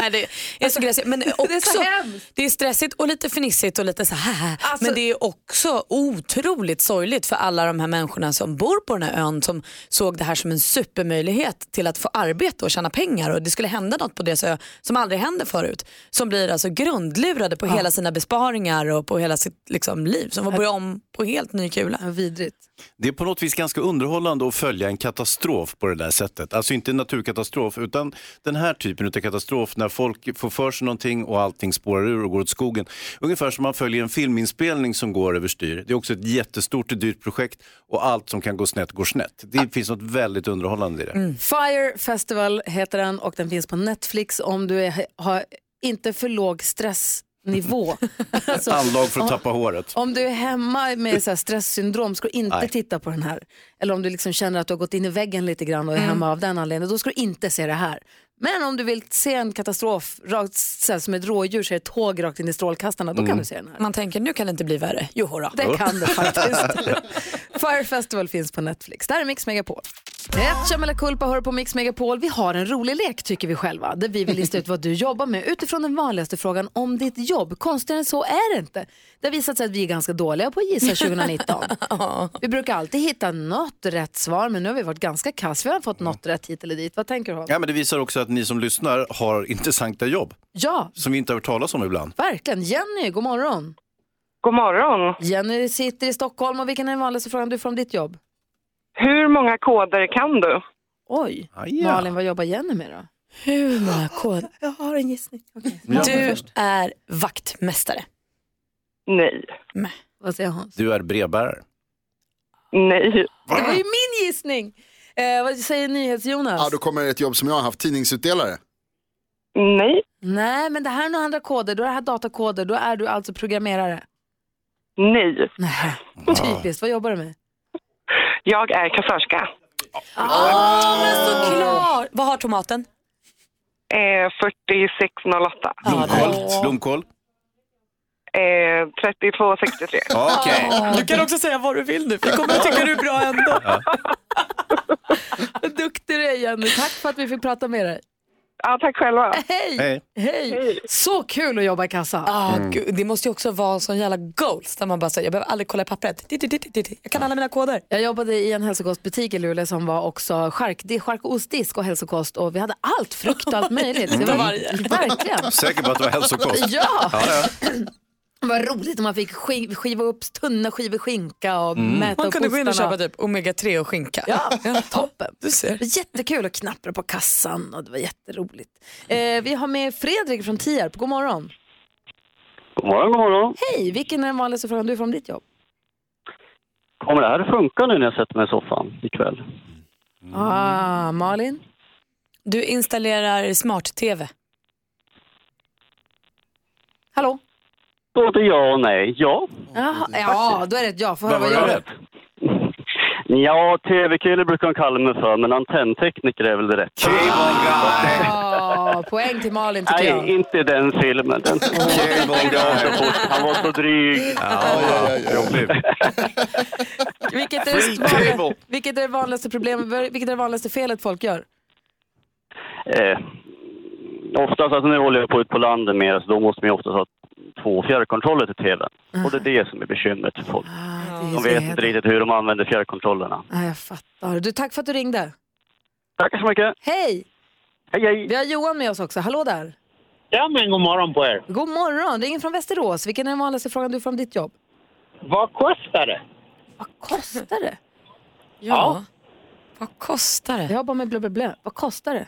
Speaker 5: Nej, det är så gräsigt. Men också, det, är
Speaker 1: så
Speaker 5: det är stressigt och lite fnissigt och lite så här.
Speaker 1: Alltså,
Speaker 5: men det är också otroligt sorgligt för alla de här människorna som bor på den här ön som såg det här som en supermöjlighet till att få arbete och tjäna pengar och det skulle hända något på deras ö som aldrig händer förut. Som blir alltså grundlurade på hela sina besparingar och på hela sitt liksom, liv. Som får börja om på helt ny kula.
Speaker 1: Vidrigt.
Speaker 3: Det är på något vis ganska underhållande att följa en katastrof på det där sättet. Alltså inte en naturkatastrof utan den här typen av katastrof när folk får för sig någonting och allting spårar ur och går åt skogen. Ungefär som man följer en filminspelning som går överstyr. Det är också ett jättestort och dyrt projekt och allt som kan gå snett går snett. Det finns något väldigt underhållande i det.
Speaker 1: Mm. Fire Festival heter den och den finns på Netflix om du är, har inte för låg stressnivå. Alltså,
Speaker 3: Anlag för att
Speaker 1: om-
Speaker 3: tappa håret.
Speaker 1: Om du är hemma med så här stresssyndrom ska du inte
Speaker 3: Nej.
Speaker 1: titta på den här. Eller om du liksom känner att du har gått in i väggen lite grann och
Speaker 5: Mm.
Speaker 1: är hemma av den anledningen, då ska du inte se det här. Men om du vill se en katastrof, rakt, så här, som ett rådjur ser ett tåg rakt in i strålkastarna, då kan
Speaker 5: Mm.
Speaker 1: du se den här.
Speaker 5: Man tänker nu kan det inte bli värre. Jo, hurra.
Speaker 1: Det kan det faktiskt. Fire Festival finns på Netflix. Där är Mix Megapol. Rätt eller culpa hör på Mix Megapol. Vi har en rolig lek tycker vi själva. Där vi vill lista ut vad du jobbar med utifrån den vanligaste frågan om ditt jobb. Konstigare än så är det inte. Det har visat sig att vi är ganska dåliga på att gissa 2019. Vi brukar alltid hitta något rätt svar men nu har vi varit ganska kass. Vi har fått något rätt hit eller dit. Vad tänker du? Hans?
Speaker 3: Ja, men det visar också att ni som lyssnar har intressanta jobb
Speaker 1: Ja,
Speaker 3: som vi inte har hört talas om ibland.
Speaker 1: verkligen. Jenny, god morgon.
Speaker 13: God morgon.
Speaker 1: Jenny sitter i Stockholm och vilken är den vanligaste frågan du får om ditt jobb?
Speaker 13: Hur många koder kan du?
Speaker 1: Oj,
Speaker 13: Aja.
Speaker 1: Malin vad jobbar Jenny med då? Hur många koder? Jag har en gissning.
Speaker 5: Du är vaktmästare.
Speaker 13: Nej.
Speaker 1: Vad säger Hans?
Speaker 3: Du är brevbärare.
Speaker 13: Nej.
Speaker 1: Det var ju min gissning. Eh, vad säger NyhetsJonas?
Speaker 10: Ja, då kommer ett jobb som jag har haft, tidningsutdelare.
Speaker 13: Nej.
Speaker 1: Nej, men det här är några andra koder. Då är det här datakoder. Då är du alltså programmerare.
Speaker 13: Nej. Ah.
Speaker 1: Typiskt. Vad jobbar du med?
Speaker 13: Jag är kassörska.
Speaker 5: Ah, men såklart! Vad har tomaten?
Speaker 13: Eh, 4608.
Speaker 3: Blomkål. Blomkål.
Speaker 13: Eh, 3263.
Speaker 3: Okej.
Speaker 5: Du kan också säga vad du vill nu, för jag kommer att tycka du är bra ändå.
Speaker 1: Vad duktig du är Jenny. Tack för att vi fick prata med dig.
Speaker 13: Ja, tack själva.
Speaker 1: Hej!
Speaker 5: Hej.
Speaker 1: Hej. Så kul att jobba i kassa.
Speaker 5: Ah, gud, det måste ju också vara sån jävla goals där man bara säger jag behöver aldrig kolla i pappret. Dit, dit, dit, dit, dit. Jag kan alla mina koder.
Speaker 1: Jag jobbade i en hälsokostbutik i Luleå som var också chark, det är charkostdisk och hälsokost och vi hade allt, frukt och allt möjligt. Det
Speaker 4: Mm.
Speaker 1: var, verkligen.
Speaker 3: Säker på att det var hälsokost?
Speaker 1: Ja.
Speaker 3: ja.
Speaker 1: Det var roligt när man fick sk- skiva upp tunna skivor skinka och
Speaker 5: Mm.
Speaker 1: mäta
Speaker 5: Man
Speaker 1: upp
Speaker 5: kunde gå in och
Speaker 1: ostarna.
Speaker 5: köpa typ omega-3 och skinka.
Speaker 1: Ja,
Speaker 5: toppen. Du
Speaker 1: Det
Speaker 5: ser.
Speaker 1: var jättekul att knappra på kassan och det var jätteroligt. Eh, vi har med Fredrik från Tierp, god morgon.
Speaker 17: God morgon, god morgon.
Speaker 1: Hej, vilken är den vanligaste frågan du får om ditt jobb?
Speaker 17: Kommer det här funka nu när jag sätter mig i soffan ikväll?
Speaker 5: Mm.
Speaker 1: Ah, Malin?
Speaker 5: Du installerar smart-tv.
Speaker 1: Hallå?
Speaker 17: Både ja och nej. Ja.
Speaker 1: Jaha,
Speaker 5: Mm.
Speaker 1: ja, då är det ett ja. Får höra vad jag gör.
Speaker 17: Ja, tv-kille brukar de kalla mig för, men antenntekniker är väl det rätta.
Speaker 1: Ja, poäng till Malin tycker jag.
Speaker 17: Nej, inte den filmen. Den... Han var så dryg.
Speaker 1: Vilket är, det vanliga, vilket är det vanligaste problemet, vilket är det vanligaste felet folk gör?
Speaker 17: Eh, oftast, alltså nu håller jag på ut på landet mer, så då måste man ju oftast ha två fjärrkontroller till tvn. Och det är det som är bekymret för folk. de vet inte riktigt hur de använder fjärrkontrollerna.
Speaker 1: Ja, jag fattar. Du, tack för att du ringde.
Speaker 17: Tack så mycket.
Speaker 1: Hej!
Speaker 17: Hej, hej!
Speaker 1: Vi har Johan med oss också. Hallå där!
Speaker 18: Ja, men god morgon på er.
Speaker 1: God morgon! Ringer från Västerås. Vilken är den vanligaste frågan du får om ditt jobb?
Speaker 18: Vad kostar det?
Speaker 1: Kostar det?
Speaker 18: Ja.
Speaker 1: Vad kostar det? Jag jobbar med blö, blö, blö. Vad kostar det?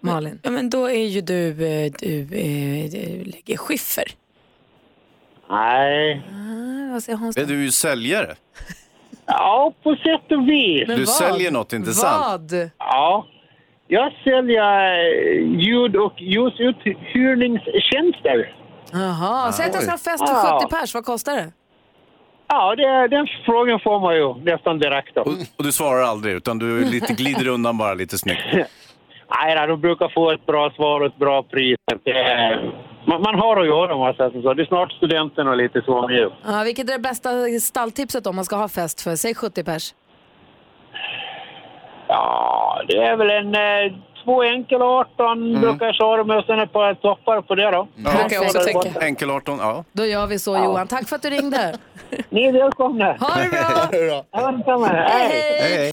Speaker 1: Malin?
Speaker 5: Ja, men då är ju du, eh, du, eh, du lägger skiffer.
Speaker 18: Nej.
Speaker 1: Ah, vad säger Hans?
Speaker 3: Är du ju säljare?
Speaker 18: Ja, på sätt och vis.
Speaker 3: du säljer något, inte sant?
Speaker 18: Ja. Jag säljer eh, ljud och ljusuthyrningstjänster.
Speaker 1: Jaha, säg att jag ska ha en fest för
Speaker 18: Ja.
Speaker 1: 70 pers. Vad kostar det?
Speaker 18: Ja, det, den frågan får man ju nästan direkt. Då.
Speaker 3: Och du svarar aldrig, utan du lite glider undan bara lite snyggt.
Speaker 18: Nej, då, de brukar få ett bra svar och ett bra pris. Det är- Man, man har att göra om man säger som så. Det är snart studenten och lite så med ju.
Speaker 1: Ja, vilket är det bästa stalltipset om man ska ha fest för? Säg 70 pers.
Speaker 18: Ja, det är väl en eh,
Speaker 11: två enkel 18
Speaker 3: Mm.
Speaker 11: brukar jag köra med och sen ett par toppar på det då.
Speaker 1: Ja. Brukar jag också tänka.
Speaker 3: Enkel 18, ja.
Speaker 1: Då gör vi så Johan. Tack för att du ringde.
Speaker 11: Ni är välkomna.
Speaker 1: Ha det bra.
Speaker 11: Hej.
Speaker 1: Hej.